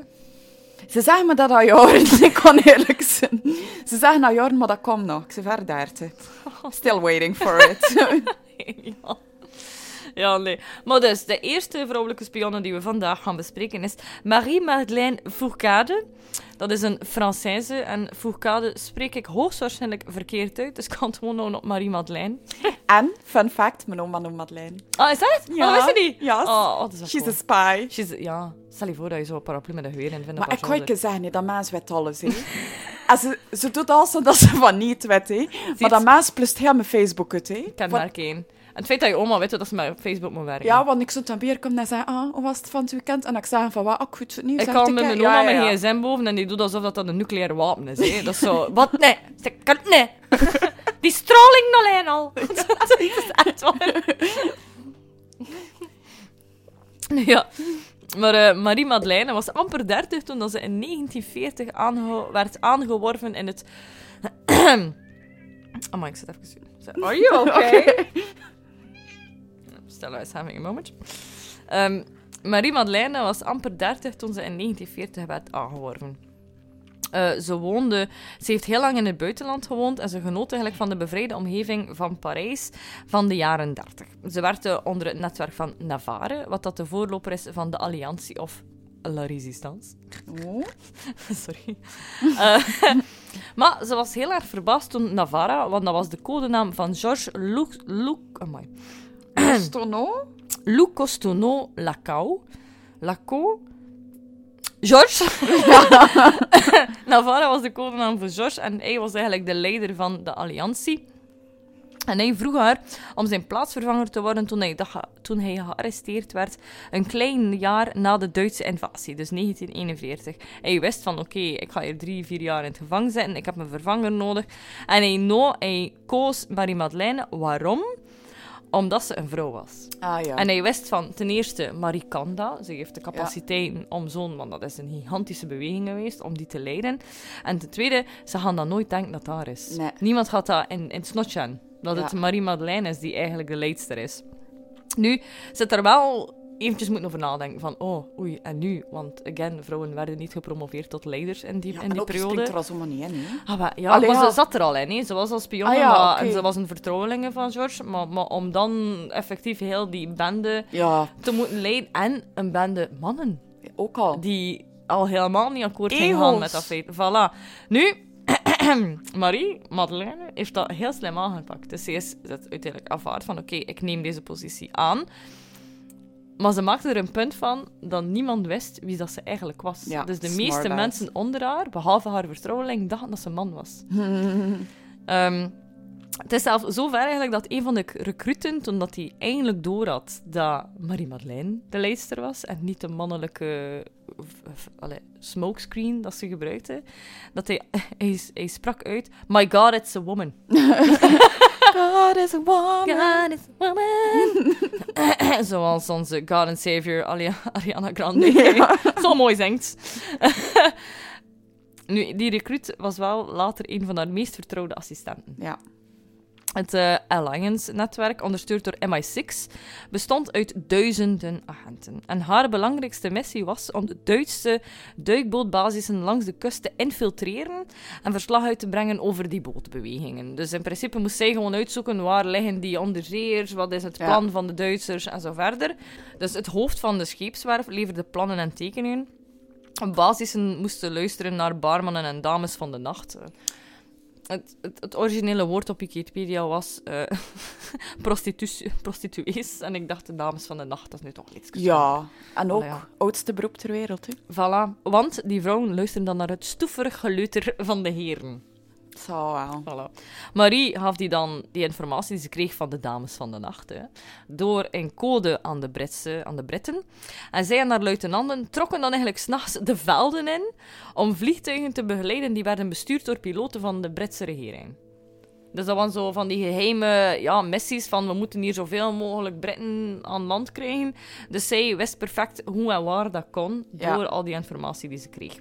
S2: Ze zeggen me dat al jaren, ik kan eerlijk zijn. Ze zeggen al jaren, maar dat komt nog. Ik ben ver dertig. Still waiting for it.
S1: ja. ja, nee. Maar dus, de eerste vrouwelijke spionne die we vandaag gaan bespreken is Marie-Madeleine Fourcade. Dat is een Française en Fourcade spreek ik hoogstwaarschijnlijk verkeerd uit, dus ik kan het gewoon houden op Marie-Madeleine.
S2: en, fun fact, mijn oma noemt Madeleine.
S1: Ah, is dat? Ja.
S2: Ja.
S1: Oh, wist je niet?
S2: Yes.
S1: Oh, oh, dat is wel
S2: She's a
S1: cool.
S2: spy.
S1: She's, ja, stel je voor dat je zo'n paraplu met een geweer in vindt. op
S2: Maar ik
S1: haar
S2: kan je
S1: zolder.
S2: zeggen, hè, dat mens weet alles. hè. En ze, ze doet alles dat ze van niet weet. hè. Maar dat mens plust heel mijn Facebook uit. hè.
S1: Ik ken
S2: Want-
S1: maar één. En het feit dat je oma weet dat ze met Facebook moet werken.
S2: Ja, want ik stond aan bier komen en zei, ah, hoe was het van het weekend? En ik zei van, wat, ah, goed het nieuws.
S1: Ik
S2: hè,
S1: haal
S2: tik,
S1: met
S2: hè.
S1: mijn
S2: Ja,
S1: oma
S2: ja, ja.
S1: mijn gsm boven en die doet alsof dat, dat een nucleair wapen is. Hè? Dat is zo, wat? Nee, ze kan nee. Die straling alleen al. dat is echt waar. Nu ja. Maar eh, Marie Madeleine was amper 30 toen dat ze in 1940 aange- werd aangeworven in het... Amai, ik zit even... Are you okay? Stel uit, having a moment. Ehm, Marie-Madeleine was amper 30 toen ze in 1940 werd aangeworven. Eh, ze woonde, ze heeft heel lang in het buitenland gewoond en ze genoot eigenlijk van de bevrijde omgeving van Parijs van de jaren 30. Ze werkte onder het netwerk van Navarre, wat dat de voorloper is van de Alliantie of La Résistance.
S2: Oh.
S1: Sorry. Eh, maar ze was heel erg verbaasd toen Navarra, want dat was de codenaam van Georges Luc, Luc, amai,
S2: Is toch nou?
S1: Lou Costono Lacau. Lacau? George? Navarra Nou, was de codenaam voor George en hij was eigenlijk de leider van de alliantie. En hij vroeg haar om zijn plaatsvervanger te worden toen hij, dat ge- toen hij gearresteerd werd, een klein jaar na de Duitse invasie, dus 1941. Hij wist van, oké, ik ga hier drie, vier jaar in het gevangen zitten, ik heb een vervanger nodig. En hij, no, hij koos Marie-Madeleine. Waarom? Omdat ze een vrouw was.
S2: Ah, ja.
S1: En hij wist van, ten eerste, Marie kan dat. Ze heeft de capaciteit om zo'n, want dat is een gigantische beweging geweest, om die te leiden. En ten tweede, ze gaan dat nooit denken dat daar is.
S2: Nee.
S1: Niemand gaat dat in, in het snotje aan, Dat
S2: Ja.
S1: het Marie-Madeleine is die eigenlijk de leidster is. Nu, zit er wel eventjes moeten over nadenken van, oh, oei, en nu? Want, again, vrouwen werden niet gepromoveerd tot leiders in die,
S2: Ja,
S1: in
S2: en
S1: die
S2: ook, je springt
S1: periode.
S2: er al zomaar niet in, hè.
S1: Ah, maar, ja,
S2: Allee,
S1: maar
S2: ja.
S1: ze zat er al in. hè. Ze was al spion
S2: Ah, ja,
S1: maar- en
S2: oké.
S1: ze was een vertrouwelinge van George. Maar, maar om dan effectief heel die bende
S2: Ja,
S1: te moeten leiden. En een bende mannen
S2: ook al.
S1: die al helemaal niet akkoord gingen
S2: Oh. Egels.
S1: gaan met dat feit. Voilà. Nu, Marie Madeleine heeft dat heel slim aangepakt. Dus ze is dat uiteindelijk aanvaard van oké, ik neem deze positie aan. Maar ze maakte er een punt van dat niemand wist wie dat ze eigenlijk was.
S2: Ja,
S1: dus de
S2: smart
S1: meeste
S2: ass.
S1: mensen onder haar, behalve haar vertrouweling, dachten dat ze een man was. Ehm, het is zelfs zo ver eigenlijk dat een van de k- recruten, toen dat hij eindelijk door had dat Marie-Madeleine de leidster was en niet de mannelijke eh, v- v- allee, smokescreen dat ze gebruikte, dat hij, hij, s- hij sprak uit: My God, it's a woman.
S2: God is a woman.
S1: God, it's a woman. Zoals onze God and Savior Ali- Ariana Grande zo mooi zingt. nu, die recruit was wel later een van haar meest vertrouwde assistenten.
S2: Ja.
S1: Het eh, Alliance-netwerk, ondersteund door MI6, bestond uit duizenden agenten. En haar belangrijkste missie was om de Duitse duikbootbasissen langs de kust te infiltreren en verslag uit te brengen over die bootbewegingen. Dus in principe moest zij gewoon uitzoeken waar liggen die onderzeeërs, wat is het
S2: Ja.
S1: plan van de Duitsers en zo verder. Dus het hoofd van de scheepswerf leverde plannen en tekeningen. Basissen moesten luisteren naar barmannen en dames van de nacht. Eh, het, het, het originele woord op Wikipedia was eh prostitutie- prostituees. En ik dacht, de dames van de nacht, dat is nu toch iets.
S2: Ja, en ook
S1: Allee, ja.
S2: oudste beroep ter wereld. Hè.
S1: Voilà, want die vrouwen luisteren dan naar het stoeverig geleuter van de heren.
S2: Het zal wel.
S1: Voilà. Marie gaf die dan die informatie die ze kreeg van de dames van de nacht, hè, door een code aan de, Britse, aan de Britten. En zij en haar luitenanten trokken dan eigenlijk s'nachts de velden in om vliegtuigen te begeleiden die werden bestuurd door piloten van de Britse regering. Dus dat waren zo van die geheime ja, missies van we moeten hier zoveel mogelijk Britten aan land krijgen. Dus zij wist perfect hoe en waar dat kon
S2: Ja.
S1: door al die informatie die ze kreeg.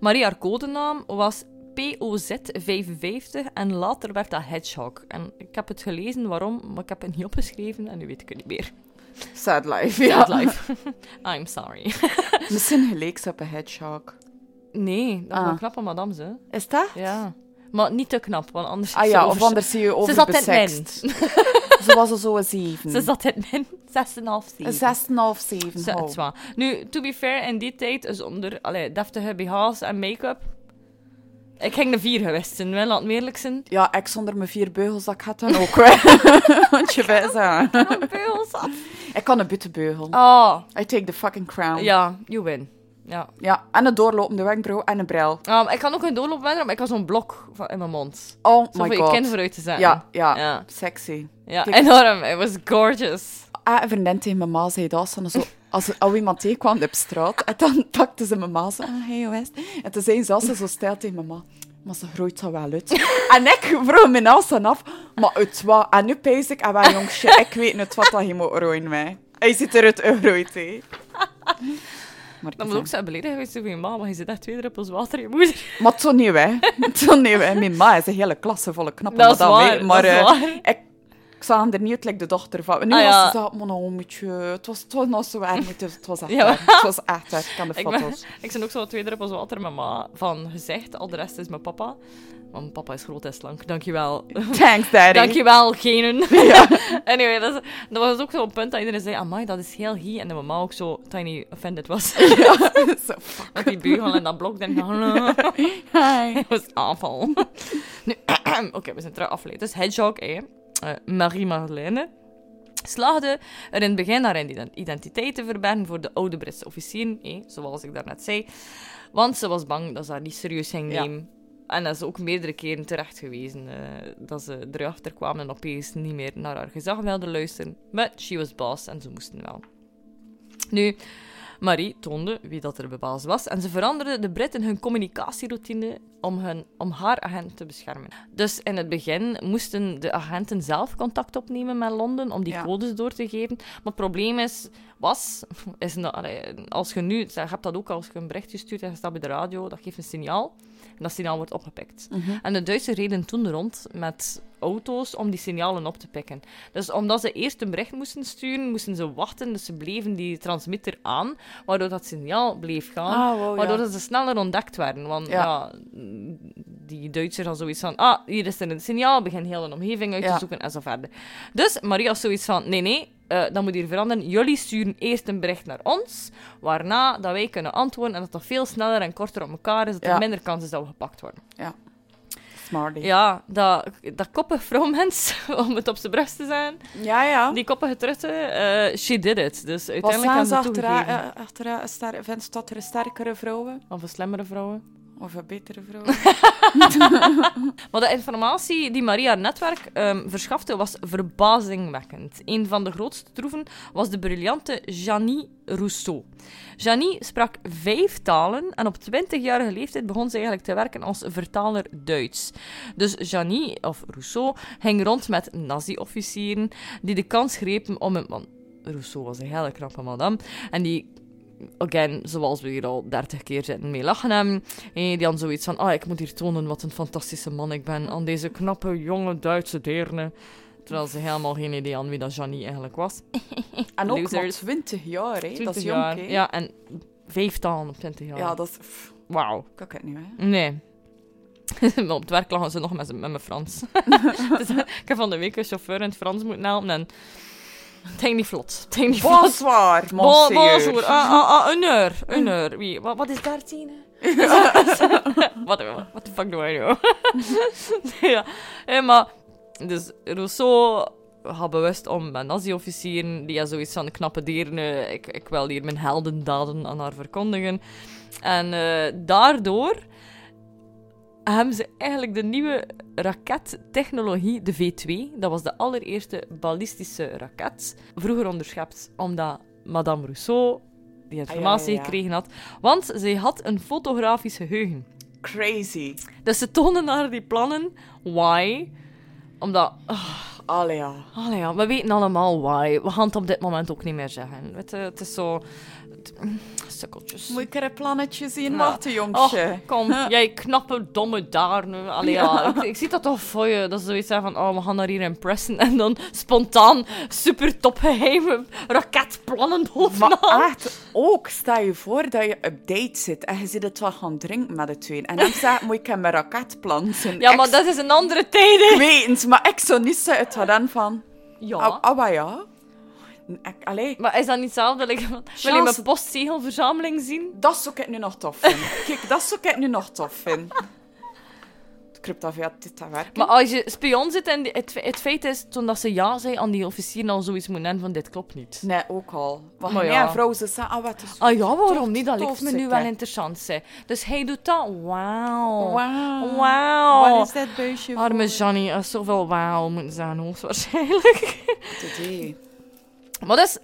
S1: Marie haar codenaam was POZ55 en later werd dat Hedgehog. En ik heb het gelezen waarom, maar ik heb het niet opgeschreven en nu weet ik het niet meer.
S2: Sad life, ja.
S1: Sad life. I'm sorry.
S2: Misschien geleek ze op een hedgehog.
S1: Nee, dat
S2: Ah.
S1: was een knappe madame, ze.
S2: Is dat?
S1: Ja. Maar niet te knap, want anders...
S2: Ah
S1: is
S2: ja,
S1: ze
S2: of
S1: over-
S2: anders zie je over
S1: Ze zat in men.
S2: Ze was er zo een zeven.
S1: Ze zat in men. Zes en een half,
S2: Een
S1: zeven.
S2: zes en een half zeven.
S1: Ze-
S2: oh.
S1: het is waar. Nu, to be fair, in die tijd, zonder allee, deftige BH's en make-up... Ik ging de vier geweest zijn, wel, laat me eerlijk zijn.
S2: Ja, ik zonder mijn vier beugels, dat gaat dan ook wel. Want je weet het. Oh.
S1: Ah, beugels af.
S2: Ik kan een buttenbeugel.
S1: Ah,
S2: I take the fucking crown.
S1: ja, you win. Ja.
S2: Ja, en een doorlopende wenkbrauw en een bril.
S1: Ah, maar ik kan ook een doorloopwender, maar ik had zo'n blok van- in mijn mond.
S2: Oh
S1: Zo
S2: my
S1: voor je kin
S2: god.
S1: vooruit te zetten.
S2: Ja, ja,
S1: Ja.
S2: Sexy.
S1: ja.
S2: Kijk.
S1: Enorm, it was gorgeous.
S2: Ah, een vriendin tegen mijn ma zei dat. Ze hadden zo, als er al iemand tegenkwam op straat, en dan pakte ze mijn ma zo aan, hey, hoe is het?" En toen zei ze, als ze zo stijl tegen mijn ma, maar ze groeit zo wel uit. en ik vroeg mijn naast dan af, maar uit wat? En nu pees ik, en wel jongetje, ik weet niet wat dat je moet rooien mij. Hij ziet eruit gegroeid, hè. Maar,
S1: Dan
S2: ik
S1: moet ook
S2: zeg,
S1: zijn beledigd geweest zijn van je mama, maar je zit echt twee druppels water in je moeder.
S2: maar toen niet, hè. Toen niet, hè. Mijn ma is een hele klassevolle knappe
S1: Dat is
S2: madame, hè.
S1: waar,
S2: Maar
S1: dat is
S2: eh,
S1: waar.
S2: ik, ik zag hem er niet uit, like de dochter van. Nu
S1: Ah,
S2: was
S1: ja.
S2: ze dat, maar nou, moetje, het was, het was nog zo erg niet, dus het was echt
S1: Ja.
S2: waar. Het was echt waar, ik kan de
S1: Ik, ben-
S2: foto's.
S1: ik zijn ook zo twee druppels water met ma van gezegd, al de rest is mijn papa. Want mijn papa is groot en slank, dankjewel.
S2: Thanks, daddy.
S1: Dankjewel, genen.
S2: Ja.
S1: Anyway, dat, is- dat was ook zo'n punt dat iedereen zei, amai, dat is heel hie. En dat mijn ma ook zo tiny offended was.
S2: Zo, fuck.
S1: Met die beugel en dat blok. Dan,
S2: Hi.
S1: Dat was aanval. nu, oké, we zijn terug afgeleid. Dus Hedgehog, hè. Eh, Marie Madeleine, slaagde er in het begin haar ident- identiteit te verbergen voor de oude Britse officieren, hè, zoals ik daarnet zei. Want ze was bang dat ze haar niet serieus ging
S2: Ja.
S1: nemen. En dat is ook meerdere keren terecht gewezen eh, dat ze erachter kwamen en opeens niet meer naar haar gezag wilden luisteren. Maar she was boss en ze moesten wel. Nu, Marie toonde wie dat er bepaald was en ze veranderde de Britten hun communicatieroutine om, hun, om haar agent te beschermen. Dus in het begin moesten de agenten zelf contact opnemen met Londen om die
S2: Ja.
S1: codes door te geven. Maar het probleem is, was, is nou, allee, als je nu, je hebt dat ook als je een berichtje stuurt en je staat bij de radio, dat geeft een signaal en dat signaal wordt opgepikt. En de Duitsers reden toen rond met auto's om die signalen op te pikken. Dus omdat ze eerst een bericht moesten sturen, moesten ze wachten. Dus ze bleven die transmitter aan, waardoor dat signaal bleef gaan.
S2: Ah, wow, ja.
S1: waardoor dat ze sneller ontdekt werden. Want ja.
S2: Ja.
S1: die Duitsers hadden zoiets van... Ah, hier is er een signaal. Begin heel een omgeving uit te
S2: Ja.
S1: zoeken en zo verder. Dus Maria had zoiets van... Nee, nee, eh, dat moet hier veranderen. Jullie sturen eerst een bericht naar ons, waarna dat wij kunnen antwoorden. En dat dat veel sneller en korter op elkaar is. Dat er
S2: Ja.
S1: minder kans is dat we gepakt worden.
S2: Smarty. Ja,
S1: Ja, dat, dat koppig vrouwmens, om het op zijn brust te zijn.
S2: ja.
S1: Die koppige trutten, eh, she did it. Dus
S2: Oh. Wat
S1: uiteindelijk
S2: staan
S1: hebben ze
S2: ze
S1: toegegeven.
S2: achteraan? eh, achteraan ster- Vindt ze dat er sterkere vrouwen?
S1: Of een slemmere vrouwen.
S2: Of een betere vrouwen?
S1: Maar de informatie die Maria haar netwerk ehm, verschafte, was verbazingwekkend. Een van de grootste troeven was de briljante Janie Rousseau. Janie sprak vijf talen en op 20-jarige leeftijd begon ze eigenlijk te werken als vertaler Duits. Dus Janie, of Rousseau, ging rond met nazi-officieren die de kans grepen om een... Want Rousseau was een hele knappe madame. En die, again, zoals we hier al dertig keer zitten mee lachen hebben, eh, die dan zoiets van, ah, ik moet hier tonen wat een fantastische man ik ben aan deze knappe, jonge Duitse deerne. Terwijl ze helemaal geen idee had wie dat Janie eigenlijk was.
S2: En ook nog
S1: Losers.
S2: 20 jaar, hè? dat is
S1: 20
S2: jong,
S1: jaar.
S2: hè?
S1: Ja, en vijf talen op 20 jaar.
S2: Ja, dat is... pff,
S1: Wauw.
S2: Ik kan het niet, hè?
S1: Nee. maar op het werk lachen ze nog met, z'n- met mijn Frans. dus, ik heb van de week een chauffeur in het Frans moeten helpen en... Het ging niet vlot. Het ging niet vlot.
S2: Bonsoir,
S1: Bo-
S2: monsieur.
S1: bonjour. Ah, ah, ah, een uur. Een uur. Wie, wat, wat is 13? hè? Wat what the fuck do I know? ja, Hé, maar... Dus Rousseau gaat bewust om met nazi-officieren. Die had zoiets van knappe dieren. eh, Ik, ik wil hier mijn heldendaden aan haar verkondigen. En eh, daardoor hebben ze eigenlijk de nieuwe rakettechnologie, de V2. Dat was de allereerste ballistische raket. Vroeger onderschept omdat Madame Rousseau die informatie
S2: Ah, ja, ja.
S1: gekregen had. Want zij had een fotografisch geheugen.
S2: Crazy.
S1: Dus ze tonen haar die plannen. Why? Omdat, ah,
S2: Allee, ja.
S1: allee ja, we weten allemaal why. We gaan het op dit moment ook niet meer zeggen. Weet je, het is zo... het- mm, sukkeltjes.
S2: Moet ik er een plannetje zien?
S1: Ja.
S2: Wacht, jongetje.
S1: Och, kom, jij knappe domme daar nu. Allee, ja. ik, ik zie dat toch voor je. Dat ze zoiets zijn van, oh, we gaan naar hier in pressen. En dan spontaan super topgeheime raketplannen bovenaan.
S2: Oh, Maar ah, echt, ook stel je voor dat je op date zit en je zit het wel gaan drinken met de twee. En dan zegt, moet ik hem een raket planten?
S1: ja, maar
S2: Ik
S1: dat is een andere tijd, hè.
S2: Ik weet het, maar ik zou niet zeggen het gedaan van...
S1: Ja.
S2: Ah, ah, maar ja. Ik, allee,
S1: Maar is dat niet hetzelfde? Like, wil je
S2: Chance-
S1: mijn postzegelverzameling zien?
S2: dat zou ik nu nog tof vinden. Kijk, dat zou ik nu nog tof vinden. Het kruipt af, ja, dit te werken.
S1: Maar als je spion zit en die- het, fe- het feit is, toen dat ze ja zei aan die officier, al zoiets moeten hebben van dit klopt niet.
S2: Nee, ook al. Want
S1: Maar
S2: nee,
S1: ja.
S2: een vrouw, ze zei, ah, wat is
S1: Ah ja,
S2: tof,
S1: waarom niet? Dat
S2: tof,
S1: lijkt me
S2: zeg,
S1: nu wel
S2: hè.
S1: interessant. Zijn. Dus hij doet dat. Wauw.
S2: Wauw.
S1: Wauw.
S2: Wat is dat buisje
S1: Oh. Arme
S2: voor?
S1: Johnny, er is zoveel wauw moeten zijn hoogstwaarschijnlijk.
S2: Idee.
S1: Maar dus,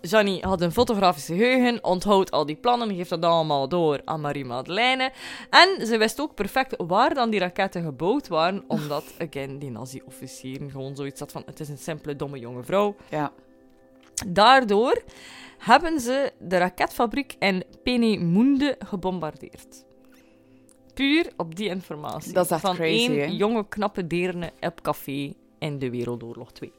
S1: Johnny had een fotografisch geheugen, onthoudt al die plannen, geeft dat allemaal door aan Marie-Madeleine. En ze wist ook perfect waar dan die raketten gebouwd waren, omdat, again, die nazi-officieren gewoon zoiets had van, het is een simpele, domme jonge vrouw.
S2: Ja.
S1: Daardoor hebben ze de raketfabriek in Penemunde gebombardeerd. Puur op die informatie.
S2: Dat is echt
S1: van
S2: crazy,
S1: één
S2: hè?
S1: jonge knappe deerne op café in de Wereldoorlog 2.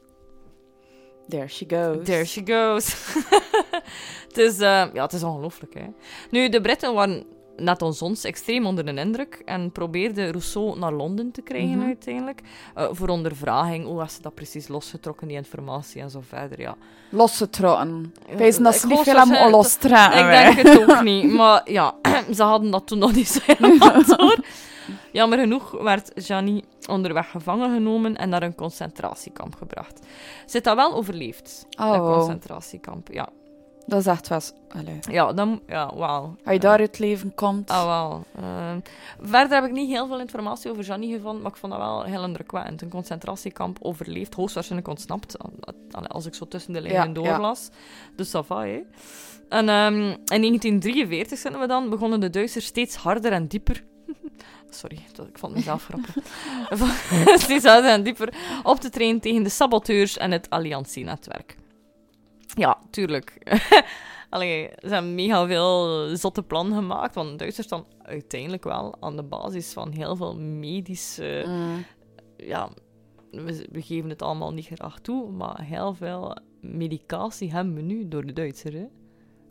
S2: There she goes.
S1: There she goes. het is, eh, ja, het is ongelooflijk, hè. Nu, de Britten waren net als ons extreem onder de indruk en probeerden Rousseau naar Londen te krijgen
S2: Mhm.
S1: uiteindelijk. eh, voor ondervraging, hoe was ze dat precies losgetrokken, die informatie en zo verder, ja. Eh,
S2: Losse trotten. Wees nou dat
S1: Ik
S2: ze niet
S1: hoor
S2: veel
S1: zo
S2: hebben
S1: zeggen-
S2: al los traten,
S1: Ik
S2: Oh, hè.
S1: denk het ook niet. Maar ja, ze hadden dat toen nog niet zo helemaal door. Jammer genoeg werd Janie onderweg gevangen genomen en naar een concentratiekamp gebracht. Ze heeft dat wel overleefd, dat
S2: Oh,
S1: concentratiekamp. Ja,
S2: dat is echt was. Allee.
S1: ja, dan, ja wauw.
S2: Als je daar uit het leven komt.
S1: Ah, wauw. Ehm, verder heb ik niet heel veel informatie over Janie gevonden, maar ik vond dat wel heel indrukwekkend. Een concentratiekamp overleefd, hoogstwaarschijnlijk ontsnapt, Allee, als ik zo tussen de lijnen
S2: Ja,
S1: doorlas. Dus ça va, hè. En ehm, in 1943 zitten we dan, begonnen de Duitsers steeds harder en dieper... Sorry, dat- ik vond mezelf grappig. Van- steeds harder en dieper op te trainen tegen de saboteurs en het alliantienetwerk. Ja, tuurlijk. Allee, ze hebben mega veel zotte plannen gemaakt, want Duitsers staan uiteindelijk wel aan de basis van heel veel medische...
S2: Mm.
S1: Ja, we, we geven het allemaal niet graag toe, maar heel veel medicatie hebben we nu door de Duitsers, hè.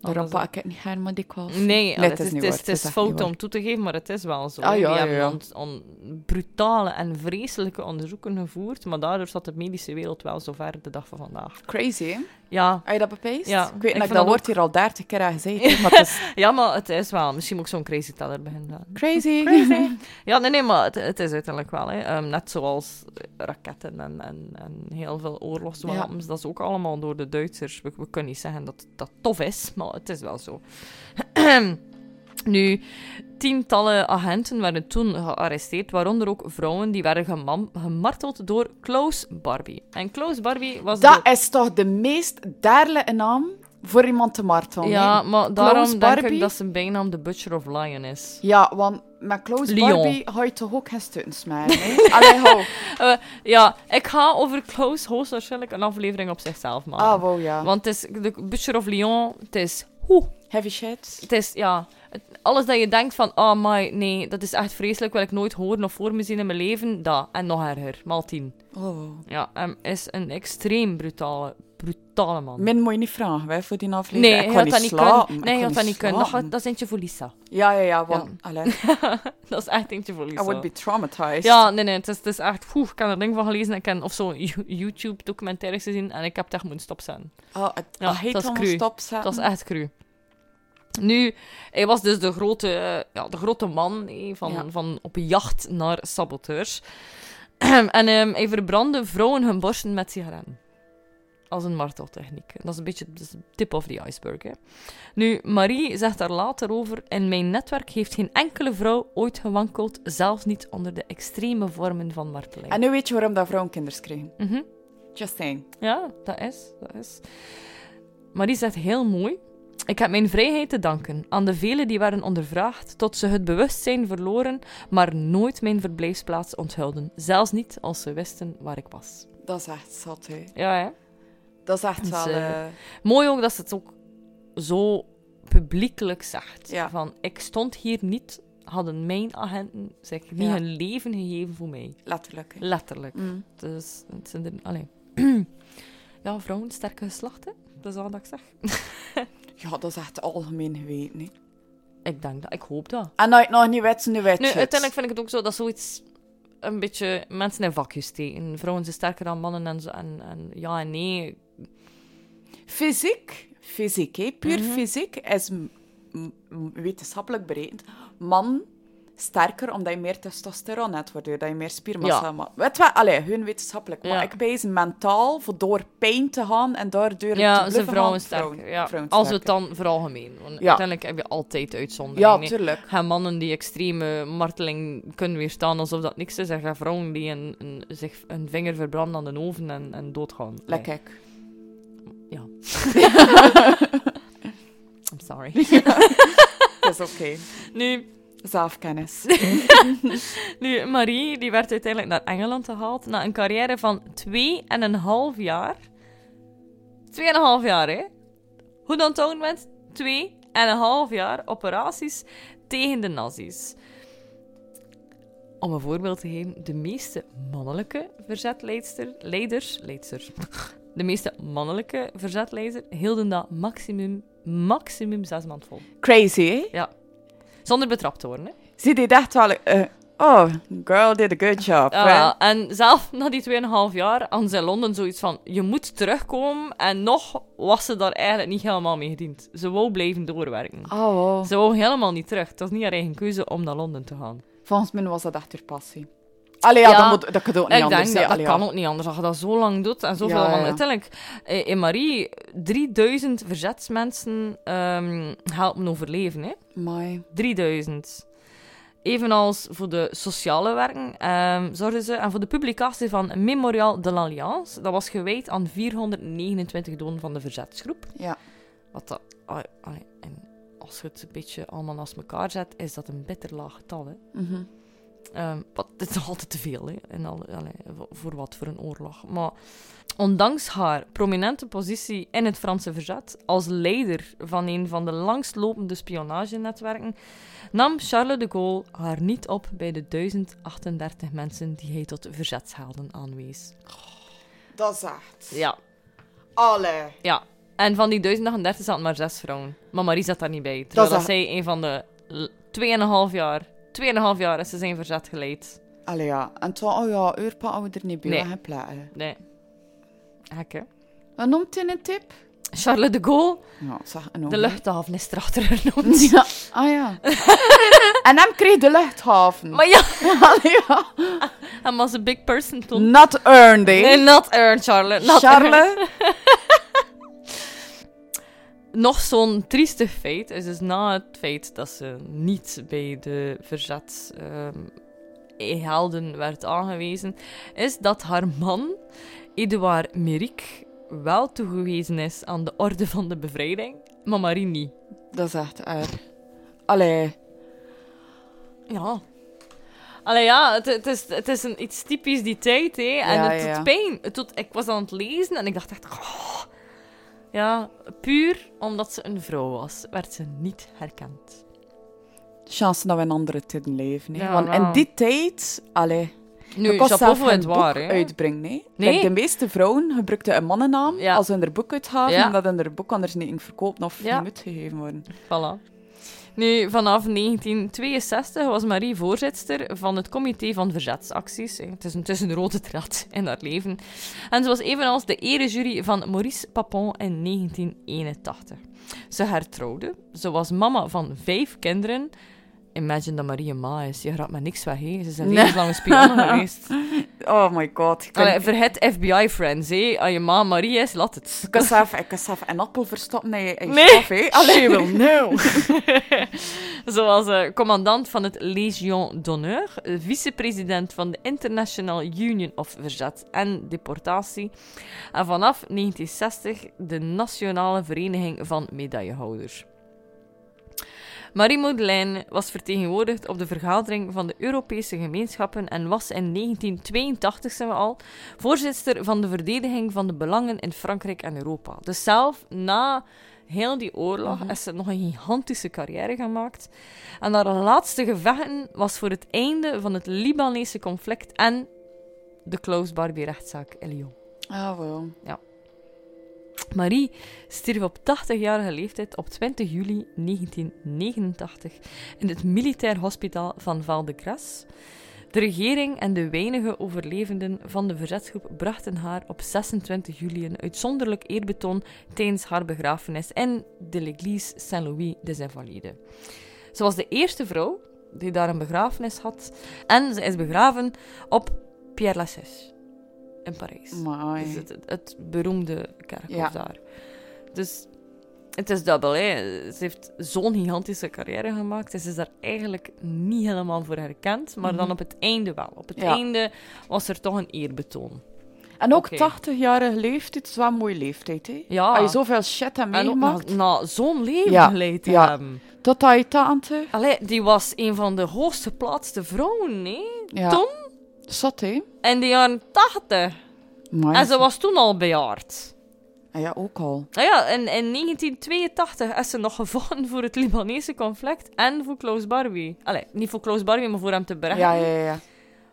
S2: Daarom
S1: Anders-
S2: pak ik het niet helemaal dikwijls.
S1: Nee,
S2: het
S1: het
S2: is
S1: is, het is,
S2: niet waar,
S1: het
S2: het
S1: is
S2: is echt niet
S1: fout
S2: waar.
S1: om toe te geven, maar het is wel zo.
S2: Ah,
S1: hè.
S2: ja,
S1: Die
S2: ja,
S1: hebben
S2: ja.
S1: ont- on- brutale en vreselijke onderzoeken gevoerd, maar daardoor staat de medische wereld wel zo ver de dag van vandaag.
S2: Crazy, hè?
S1: Ja,
S2: Heb je dat bepeest?
S1: Ja,
S2: Ik
S1: ik
S2: weet
S1: vind
S2: dat ik
S1: dat
S2: dat woord hier al dertig keer aan gezegd maar het is
S1: ja maar het is wel. Misschien moet ik zo'n crazy teller beginnen.
S2: crazy.
S1: Ja, nee, nee, maar het, het is uiteindelijk wel. Hè. Ehm, net zoals raketten en, en, en heel veel oorlogswapens. Dat is ook allemaal door de Duitsers. We, we kunnen niet zeggen dat dat tof is, maar het is wel zo. nu, tientallen agenten werden toen gearresteerd, waaronder ook vrouwen die werden gemam- gemarteld door Klaus Barbie. En Klaus Barbie was de-
S2: Dat is toch de meest derlijke naam voor iemand te martelen?
S1: Ja,
S2: hè?
S1: maar
S2: Klaus
S1: daarom denk ik
S2: Barbie?
S1: dat zijn bijnaam de Butcher of Lion is.
S2: Ja, want met Klaus
S1: Lion.
S2: Barbie ga je toch ook geen stuntens maken, hè? Allee, ho.
S1: Eh, ja, ik ga over Klaus hoogstwaarschijnlijk een aflevering op zichzelf maken.
S2: Ah, wow, ja.
S1: Want het is de Butcher of Lyon, het is hoe.
S2: Heavy shit.
S1: Het is, ja, het- alles dat je denkt van, oh my, nee, dat is echt vreselijk, wil ik nooit horen of voor me zien in mijn leven, dat. En nog erger, maal tien.
S2: Oh.
S1: Ja, hem is een extreem brutale, brutale man.
S2: Min moet je niet vragen, hè, voor die aflevering.
S1: nee,
S2: ik
S1: je
S2: kon
S1: had
S2: niet
S1: dat niet
S2: slapen.
S1: kunnen.
S2: ik
S1: Nee, je had
S2: kon
S1: dat niet kunnen. Dat,
S2: slapen.
S1: gaat- dat is eentje voor Lisa.
S2: Ja, ja, ja, want... Allee,
S1: Dat is echt eentje voor Lisa.
S2: I would be traumatized.
S1: Ja, nee, nee, het is, het is echt... Oeh, ik heb er ding van gelezen. Ik heb of zo YouTube-documentaires gezien en ik heb het echt moeten stopzetten.
S2: Oh, het,
S1: Ja,
S2: ja, heet
S1: dat is
S2: allemaal
S1: cru.
S2: stopzetten.
S1: Dat is echt cru. Nu, hij was dus de grote, eh, ja, de grote man eh, van,
S2: Ja.
S1: van op jacht naar saboteurs. en ehm, hij verbrandde vrouwen hun borsten met sigaren. Als een marteltechniek. Dat is een beetje de tip of the iceberg. Hè. Nu, Marie zegt daar later over. In mijn netwerk heeft geen enkele vrouw ooit gewankeld. Zelfs niet onder de extreme vormen van marteling.
S2: En nu weet je waarom dat vrouwen kinderen kregen.
S1: Mhm.
S2: Just saying.
S1: Ja, dat is, dat is. Maar die zegt heel mooi. Ik heb mijn vrijheid te danken aan de velen die werden ondervraagd tot ze het bewustzijn verloren, maar nooit mijn verblijfsplaats onthouden. Zelfs niet als ze wisten waar ik was.
S2: Dat is echt zat, hè.
S1: Ja, hè?
S2: Dat is echt
S1: Dus,
S2: wel...
S1: eh,
S2: eh,
S1: Mooi ook dat ze het ook zo publiekelijk zegt.
S2: Ja.
S1: Van, ik stond hier niet, hadden mijn agenten zeg, niet
S2: Ja.
S1: hun leven gegeven voor mij.
S2: letterlijk. hè.
S1: Letterlijk.
S2: Mm.
S1: Dus het zijn er... Allee. ja, vrouwen, sterke geslachten. Dat is wat ik zeg.
S2: Ja, dat is echt algemeen geweten, hè.
S1: Ik denk dat, ik hoop dat.
S2: En als je het nog niet weet, nu weet
S1: Nu,
S2: je het.
S1: uiteindelijk vind ik het ook zo dat zoiets een beetje mensen in vakjes steken. Vrouwen zijn sterker dan mannen en, zo, en, en ja en nee.
S2: Fysiek, fysiek, hè. puur
S1: Mhm.
S2: fysiek, is m- m- wetenschappelijk berekend. Man sterker omdat je meer testosteron hebt, waardoor dat je meer spiermassa
S1: Ja.
S2: hebt. Weet wel, allee, hun wetenschappelijk, maar
S1: Ja.
S2: ik ben ze mentaal voor door pijn te gaan en daardoor te
S1: Ja,
S2: bluffen
S1: zijn
S2: gaan,
S1: vrouwen sterker.
S2: vrouwen-
S1: ja.
S2: vrouwen
S1: Als we het
S2: sterker.
S1: dan veralgemeen. Want
S2: Ja.
S1: uiteindelijk heb je altijd uitzonderingen.
S2: Ja,
S1: hè.
S2: tuurlijk.
S1: Gaan mannen die extreme marteling kunnen weerstaan alsof dat niks is. En gaan vrouwen die een, een- zich een vinger verbranden aan de oven en, en doodgaan. Nee.
S2: Lekker. kijk.
S1: I'm sorry.
S2: Dat is oké.
S1: nu,
S2: Zelfkennis.
S1: Nu, Marie die werd uiteindelijk naar Engeland gehaald na een carrière van 2,5 jaar. 2,5 jaar, hè? Goed onthouden, mensen. 2,5 jaar operaties tegen de nazi's. Om een voorbeeld te geven, de meeste mannelijke verzetleidster, leiders, leidster, de meeste mannelijke verzetleider hielden dat maximum, maximum zes maanden vol.
S2: Crazy, hè?
S1: Zonder betrapt te worden, hè?
S2: Zie, die dacht wel... eh, oh, girl did a good job.
S1: Ja,
S2: Well,
S1: Ah, en zelf na die 2,5 jaar hadden ze in Londen zoiets van: je moet terugkomen. En nog was ze daar eigenlijk niet helemaal mee gediend. Ze wou blijven doorwerken.
S2: Oh, wow.
S1: Ze wou helemaal niet terug. Het was niet haar eigen keuze om naar Londen te gaan.
S2: Volgens mij was dat echt haar passie. Allee, ja,
S1: Ja,
S2: dat, moet, dat kan ook niet
S1: ik
S2: anders.
S1: denk
S2: hè.
S1: dat, dat
S2: Allee, ja.
S1: kan ook niet anders. Als je dat zo lang doet en zoveel
S2: Ja,
S1: mannen.
S2: ja.
S1: Uiteindelijk, eh, in Marie, 3000 verzetsmensen ehm, helpen overleven. Hè?
S2: Amai.
S1: 3000. Evenals voor de sociale werken ehm zorgden ze en voor de publicatie van Memorial de l'Alliance. Dat was gewijd aan 429 doden van de verzetsgroep.
S2: Ja.
S1: Wat dat, ah, ah, en als je het een beetje allemaal naast elkaar zet, is dat een bitter laag getal. Hè?
S2: Mhm.
S1: Ehm, wat, het is nog altijd te veel, hè? En al, allee, voor- voor wat voor een oorlog. Maar ondanks haar prominente positie in het Franse verzet, als leider van een van de langstlopende spionagenetwerken, nam Charles de Gaulle haar niet op bij de 1038 mensen die hij tot verzetshelden aanwees.
S2: Dat is echt.
S1: Ja,
S2: Allee.
S1: ja. En van die 1038 zaten maar zes vrouwen. Maar Marie zat daar niet bij. Terwijl
S2: Dat
S1: dat
S2: is
S1: zij een van de l- 2,5 jaar, 2,5 jaar is ze zijn verzet geleid.
S2: Allee, ja. En toen, oh ja, uurpa hadden we er niet bij.
S1: Nee.
S2: Nee. Geen platen.
S1: Nee. Hekken.
S2: Wat noemt hij een tip?
S1: Charles de Gaulle,
S2: Ja, zeg een
S1: de
S2: ogen.
S1: luchthaven is erachter genoemd.
S2: Ja. Ah ja. en hem kreeg de luchthaven.
S1: Maar ja,
S2: Allee, ja.
S1: hij was een big person toen.
S2: Not earned, eh.
S1: Nee, not earned, Charles. Not earned.
S2: Charles.
S1: Nog zo'n triestig feit is dus na het feit dat ze niet bij de verzet ehm, helden werd aangewezen, is dat haar man, Edouard Méric, wel toegewezen is aan de Orde van de Bevrijding, maar Marie niet.
S2: Dat is echt erg. Allee.
S1: Ja. Allee, ja, het, het is, het is een, iets typisch die tijd, hè. En
S2: Ja,
S1: het doet
S2: ja.
S1: pijn. Het doet, ik was aan het lezen en ik dacht echt... "Oh." Ja, puur omdat ze een vrouw was, werd ze niet herkend.
S2: Chance dat we in andere tijden leven. hè.
S1: Ja,
S2: Want
S1: wel.
S2: in die tijd, allee,
S1: Nu,
S2: ik was
S1: chapeau
S2: zelf
S1: voor
S2: een
S1: het
S2: boek
S1: waar, hè.
S2: uitbrengen. Nee.
S1: Nee.
S2: Kijk, de meeste vrouwen gebruikten een mannennaam
S1: Ja.
S2: als ze hun boek uitgaven,
S1: Ja.
S2: omdat hun boek anders niet ging verkopen of
S1: Ja.
S2: niet uitgegeven worden.
S1: Voilà. Nu, vanaf 1962 was Marie voorzitter van het comité van verzetsacties. Eh, Het is een, het is een rode draad in haar leven. En ze was evenals de erejury van Maurice Papon in 1981. Ze hertrouwde. Ze was mama van vijf kinderen. Imagine dat Marie een ma is. Je raadt me niks weg, hè. Ze is een
S2: Nee.
S1: levenslange spionne geweest.
S2: Oh my god. Ik kan,
S1: Allee, verhet FBI-friends, hè. Als je ma Marie is, laat het.
S2: ik kan zelf, ik kan zelf een appel verstoppen in je, in je
S1: Nee.
S2: staf, hè. Allee.
S1: She will Zoals eh, commandant van het Légion d'honneur, eh, vicepresident van de International Union of Verzet en Deportatie. En vanaf 1960 de Nationale Vereniging van Medaillehouders. Marie Modelein was vertegenwoordigd op de vergadering van de Europese gemeenschappen en was in 1982, zijn we al, voorzitter van de verdediging van de belangen in Frankrijk en Europa. Dus zelf na heel die oorlog is ze nog een gigantische carrière gemaakt. En haar laatste gevechten was voor het einde van het Libanese conflict en de Klaus Barbie-rechtszaak in Lyon.
S2: Oh, wow.
S1: Marie stierf op 80-jarige leeftijd op 20 juli 1989 in het militair hospitaal van Val de Grace. De regering en de weinige overlevenden van de verzetsgroep brachten haar op 26 juli een uitzonderlijk eerbetoon tijdens haar begrafenis in de l'Église Saint-Louis des Invalides. Ze was de eerste vrouw die daar een begrafenis had en ze is begraven op Pierre Lachaise in Parijs.
S2: Amai.
S1: Dus het, het, het beroemde kerkhof
S2: Ja.
S1: daar. Dus het is dubbel. Hè. Ze heeft zo'n gigantische carrière gemaakt. en Ze is daar eigenlijk niet helemaal voor herkend. Maar dan
S2: Mhm.
S1: op het einde wel. Op het
S2: Ja.
S1: einde was er toch een eerbetoon.
S2: En ook
S1: Oké.
S2: 80-jarige leeftijd is wel een mooie leeftijd, hè.
S1: Ja.
S2: Als je zoveel shit hebt
S1: En ook na,
S2: meegemaakt,
S1: na zo'n leven
S2: Ja,
S1: geleid te
S2: ja.
S1: hebben.
S2: tot aan je tante.
S1: Allee, die was een van de hoogst geplaatste vrouwen, hè?
S2: Ja.
S1: Tom?
S2: Zot, hè.
S1: In de jaren tachtig.
S2: Amai.
S1: En ze was toen al bejaard.
S2: Ah Ja, ook al.
S1: Nou ja, in, in 1982 is ze nog gevochten voor het Libanese conflict en voor Klaus Barbie. Allee, niet voor Klaus Barbie, maar voor hem te berechten.
S2: Ja, ja, ja.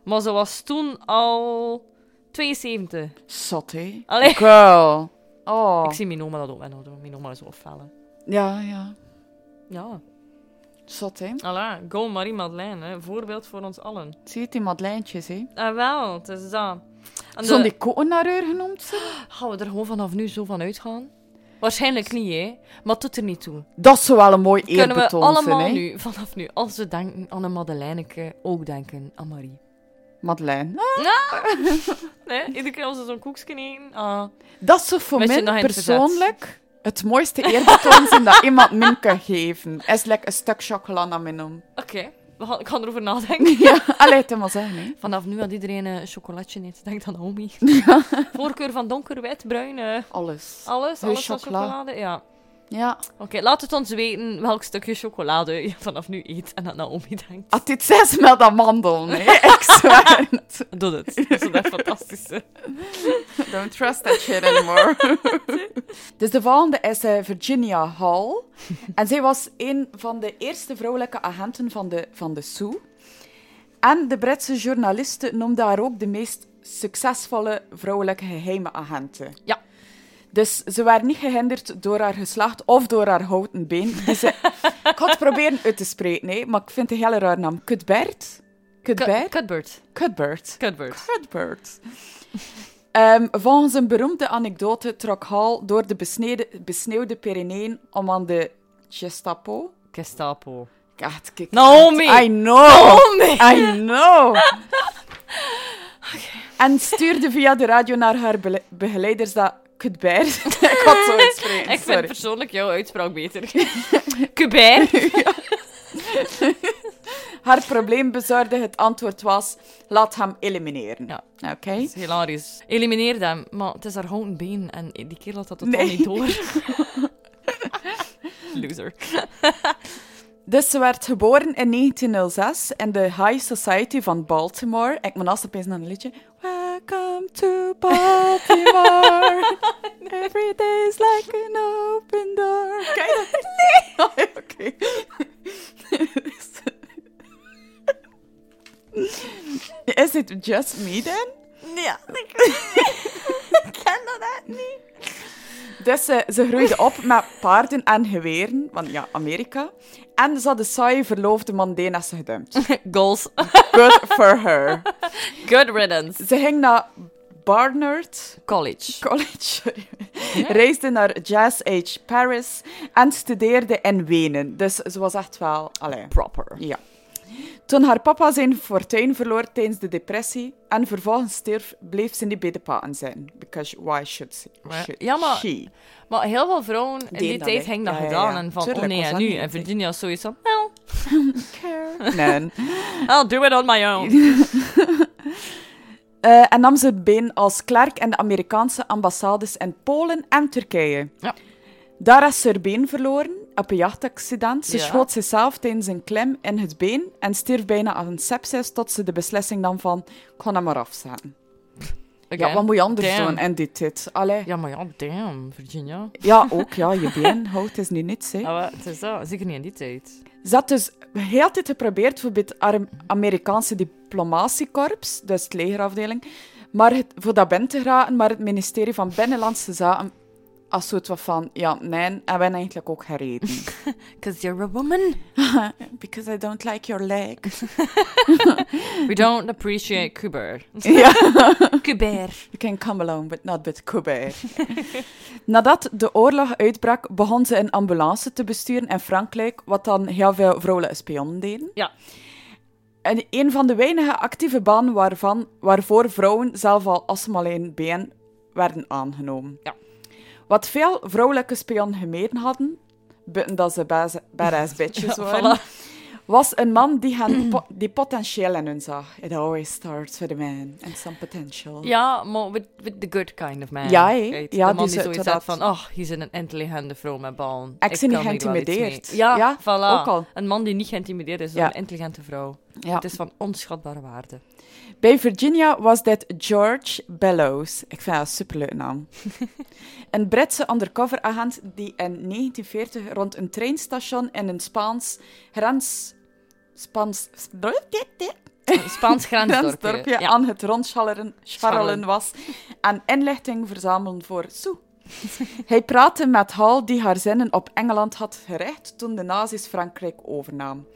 S1: Maar ze was toen al 72.
S2: Zot, hè.
S1: Allee.
S2: Ook wel. Oh.
S1: Ik zie mijn oma dat ook wel doen. Mijn oma is ook felle.
S2: Ja, ja.
S1: Ja.
S2: Zot, hè.
S1: Alla, go Marie-Madeleine, hè. voorbeeld voor ons allen.
S2: Zie je die madeleintjes, hè.
S1: En Ah, wel, het is dat. En
S2: Zo'n
S1: de-
S2: die koten naar haar genoemd zijn?
S1: Gaan we er gewoon vanaf nu zo van uitgaan? Waarschijnlijk niet, hè. Maar het doet er niet toe.
S2: Dat zou wel een mooi
S1: Kunnen we
S2: eerbetoon zijn,
S1: allemaal
S2: hè.
S1: nu, vanaf nu, als we denken aan een Madeleineke, ook denken aan Marie.
S2: Madeleine. Ah,
S1: Nee, iedere keer als ze zo'n koekje eten. Ah.
S2: Dat zou voor
S1: Weet je
S2: mij
S1: nog in het
S2: persoonlijk het mooiste eerbetoon zijn dat iemand min kan geven. Is like een stuk chocola naar mijn om.
S1: Oké, we gaan- ik ga erover nadenken.
S2: Ja, allee, het maar zeggen, hè.
S1: Vanaf nu had iedereen een chocolatje eet. Denk dan homie. Voorkeur van donker, wit, bruin, eh,
S2: Alles.
S1: alles.
S2: Ja,
S1: alles van
S2: chocola.
S1: chocolade. Ja.
S2: Ja.
S1: Oké, laat het ons weten welk stukje chocolade je vanaf nu eet en aan Naomi denkt.
S2: Had dit zes met amandelen, hè. Ik zweer het.
S1: Doe het. Dat is echt fantastisch. hè.
S2: Don't trust that shit anymore. dus de volgende is eh, Virginia Hall. En zij was een van de eerste vrouwelijke agenten van de, van de SOE. En de Britse journalisten noemden haar ook de meest succesvolle vrouwelijke geheime agenten.
S1: Ja.
S2: Dus ze werd niet gehinderd door haar geslacht of door haar houten been. Die ze... ik ga het proberen uit te spreken, hè, maar ik vind het een hele raar naam. Cuthbert?
S1: Cu-
S2: Cuthbert?
S1: Cuthbert.
S2: Cuthbert.
S1: Cuthbert.
S2: Cuthbert. Ehm, volgens een beroemde anekdote trok Hall door de besneden, besneeuwde Pyreneeën om aan de Gestapo.
S1: Gestapo.
S2: Echt, kijk.
S1: Naomi!
S2: I know!
S1: Naomi!
S2: I know! En stuurde via de radio naar haar bele- begeleiders dat Cuthbert. ik had zo
S1: Ik
S2: uitspreken,
S1: vind
S2: sorry.
S1: persoonlijk jouw uitspraak beter. Cubert.
S2: Haar probleembezorgde het antwoord was: laat hem elimineren.
S1: Ja.
S2: Oké.
S1: Dat is hilarisch. Elimineer hem, maar het is haar houten been en die kerel had dat totaal
S2: Nee.
S1: niet door. Loser.
S2: Dus ze werd geboren in 1906 in de High Society van Baltimore. Ik moet naast opeens naar een liedje. Welcome to Baltimore. Every day is like an open door. Ken je dat? Nee. Oké. Is it just me then?
S1: Ja, ik ken dat niet.
S2: Dus eh, ze groeide op met paarden en geweren. want ja, Amerika. En ze had de saaie verloofde Mandenesse gedumpt.
S1: Goals.
S2: Good for her.
S1: Good riddance.
S2: Ze ging naar Barnard
S1: College.
S2: College, reisde naar Jazz Age Paris en studeerde in Wenen. Dus ze was echt wel... Allee.
S1: Proper.
S2: Ja. Toen haar papa zijn fortuin verloor tijdens de depressie en vervolgens stierf, bleef ze niet bij de paten zijn. Because why should she?
S1: Maar-
S2: should
S1: ja, maar-
S2: she?
S1: Maar heel veel vrouwen in
S2: Deden
S1: die
S2: dat,
S1: tijd
S2: hè?
S1: hingen dat
S2: Ja, ja,
S1: gedaan.
S2: ja.
S1: En van,
S2: Tuurlijk
S1: oh nee,
S2: was
S1: en
S2: dat
S1: nu.
S2: niet
S1: En
S2: een ding.
S1: Virginia is zoiets van, well,
S2: Nee.
S1: I'll do it on my own.
S2: Eh, en nam ze been als klerk in de Amerikaanse ambassades in Polen en Turkije.
S1: Ja.
S2: Daar is ze haar been verloren op een jachtaccident. Ze
S1: Ja.
S2: schoot zichzelf tijdens een klem in het been en stierf bijna aan een sepsis tot ze de beslissing nam van, ik ga hem maar afzetten. Ja,
S1: Again.
S2: wat moet je anders
S1: Damn.
S2: doen en dit, dit. Allee. Ja.
S1: Ja, maar ja, damn, Virginia.
S2: Eh? ook, ja, je been houdt is nu niets, hè.
S1: Ah, wel, het is dat. Zeker niet in die tijd.
S2: Ze had dus heel de tijd geprobeerd voor bij het Ar- Amerikaanse diplomatiekorps, dus de legerafdeling, maar het, voor dat ben te geraken, maar het ministerie van Binnenlandse Zaken als soort wat van, ja, nee, en ben eigenlijk ook gereden.
S1: Because you're a woman.
S2: Because I don't like your leg.
S1: We don't appreciate Kuber.
S2: ja.
S1: Kuber.
S2: You can come alone, but not with Kobe. Nadat de oorlog uitbrak, begon ze een ambulance te besturen in Frankrijk, wat dan heel veel vrouwelijke spionnen deden.
S1: Ja.
S2: En een van de weinige actieve banen waarvan, waarvoor vrouwen zelf al als ze maar alleen been werden aangenomen.
S1: Ja.
S2: Wat veel vrouwelijke spionnen gemeen hadden, buiten dat ze baz- badass bitches waren,
S1: Voilà.
S2: was een man die, hen po- die potentieel in hun zag. It always starts with a man and some potential.
S1: Ja, maar with, with the good kind of man.
S2: Oh. Ja, hè?
S1: Weet,
S2: Ja,
S1: de man
S2: die
S1: die
S2: zo-
S1: zoiets had
S2: dat-
S1: van, oh, hier zit een intelligente vrouw met ballen.
S2: Ik ben niet
S1: kan hier wel iets
S2: geïntimideerd.
S1: mee. Ja,
S2: Ja,
S1: voilà.
S2: ook al.
S1: Een man die niet geïntimideerd is door
S2: Ja.
S1: een intelligente vrouw.
S2: Ja.
S1: Het is van onschatbare waarde.
S2: Bij Virginia was dat George Bellows. Ik vind dat een superleuke naam. een Britse undercoveragent die in 1940 rond een treinstation in een Spaans grens... Spaans...
S1: Een Spaans grensdorpje.
S2: grensdorpje ah. aan het rondscharrelen scharrelen
S1: Scharrelen.
S2: was en inlichting verzamelen voor Sue. Hij praatte met Hal, die haar zinnen op Engeland had gericht toen de nazi's Frankrijk overnamen.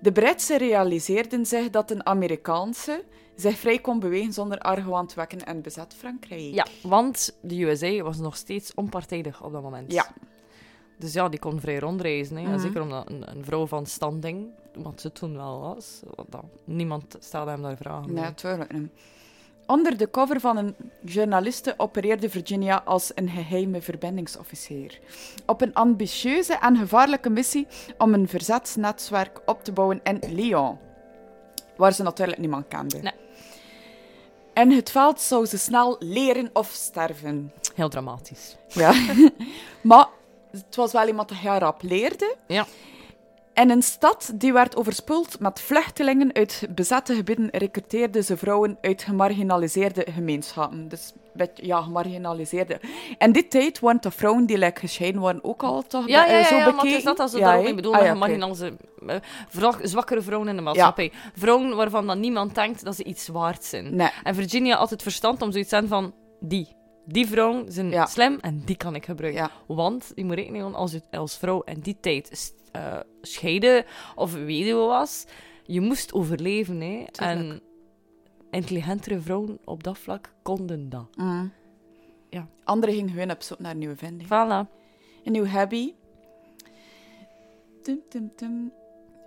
S2: De Britsen realiseerden zich dat een Amerikaanse zich vrij kon bewegen zonder argwaan te wekken en bezet Frankrijk.
S1: Ja, want de USA was nog steeds onpartijdig op dat moment.
S2: Ja. Mhm.
S1: Dus ja, die kon vrij rondreizen. Hè. En Zeker omdat een, een vrouw van standing, wat ze toen wel was, want dan, niemand stelde hem daar vragen
S2: Nee,
S1: bij.
S2: tuurlijk niet. Onder de cover van een journaliste opereerde Virginia als een geheime verbindingsofficier. Op een ambitieuze en gevaarlijke missie om een verzetsnetwerk op te bouwen in Lyon. Waar ze natuurlijk niemand kende.
S1: Nee.
S2: In het veld zou ze snel leren of sterven.
S1: Heel dramatisch.
S2: Ja. maar het was wel iemand die heel rap leerde.
S1: Ja.
S2: En een stad die werd overspoeld met vluchtelingen uit bezette gebieden, recruteerden ze vrouwen uit gemarginaliseerde gemeenschappen. Dus met- ja, gemarginaliseerde. En dit tijd waren de vrouwen die like, gescheiden waren ook al toch
S1: Ja,
S2: be-
S1: ja,
S2: eh,
S1: ja,
S2: zo
S1: ja,
S2: bekeken.
S1: maar het is dat als ze
S2: Ja,
S1: daar ook
S2: hè?
S1: mee bedoelen.
S2: Ah,
S1: Ah,
S2: ja, oké.
S1: marginaliseer- eh, vooral zwakkere vrouwen in de maatschappij. Vrouwen waarvan dan niemand denkt dat ze iets waard zijn.
S2: Nee.
S1: En Virginia had het verstand om zoiets te zijn van die. Die vrouwen zijn
S2: Ja.
S1: slim en die kan ik gebruiken.
S2: Ja.
S1: Want je moet rekening houden, als je als vrouw in die tijd s- eh, scheiden of weduwe was, je moest overleven. Hè. En intelligentere vrouwen op dat vlak konden dat.
S2: Mm.
S1: Ja.
S2: Anderen gingen gewoon op zoek naar een nieuwe vinding.
S1: Voilà.
S2: Een nieuw hobby. Tum, tum, tum.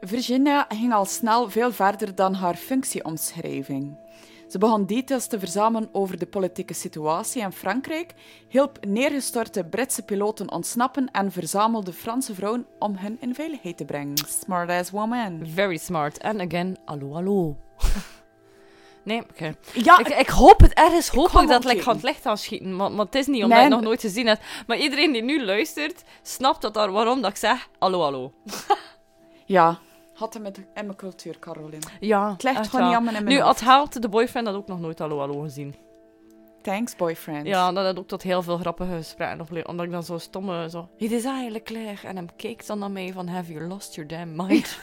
S2: Virginia ging al snel veel verder dan haar functieomschrijving. Ze begon details te verzamelen over de politieke situatie in Frankrijk, hielp neergestorte Britse piloten ontsnappen en verzamelde Franse vrouwen om hen in veiligheid te brengen. Smartass woman.
S1: Very smart. En again, hallo, hallo. nee, oké.
S2: Ja,
S1: Ik, ik hoop het ergens, hoop
S2: Ah, kan
S1: ik dat
S2: ook
S1: ik
S2: niet.
S1: aan het licht aan schieten. Maar, maar het is niet omdat je
S2: Nee.
S1: het nog nooit gezien hebt. Maar iedereen die nu luistert, snapt dat daar, waarom dat ik zeg: hallo, hallo.
S2: ja. Had hem met in mijn cultuur, Caroline.
S1: Ja,
S2: Het ligt
S1: echt
S2: gewoon
S1: waar.
S2: niet aan mijn in mijn
S1: Nu
S2: hoofd.
S1: had Haalt de boyfriend dat ook nog nooit hallo, hallo gezien.
S2: Thanks, boyfriend.
S1: Ja, dat had ook tot heel veel grappige gesprekken opgeleverd. Omdat ik dan zo stomme, zo... Het is eigenlijk leeg. En hem keek dan naar mij van... Have you lost your damn mind?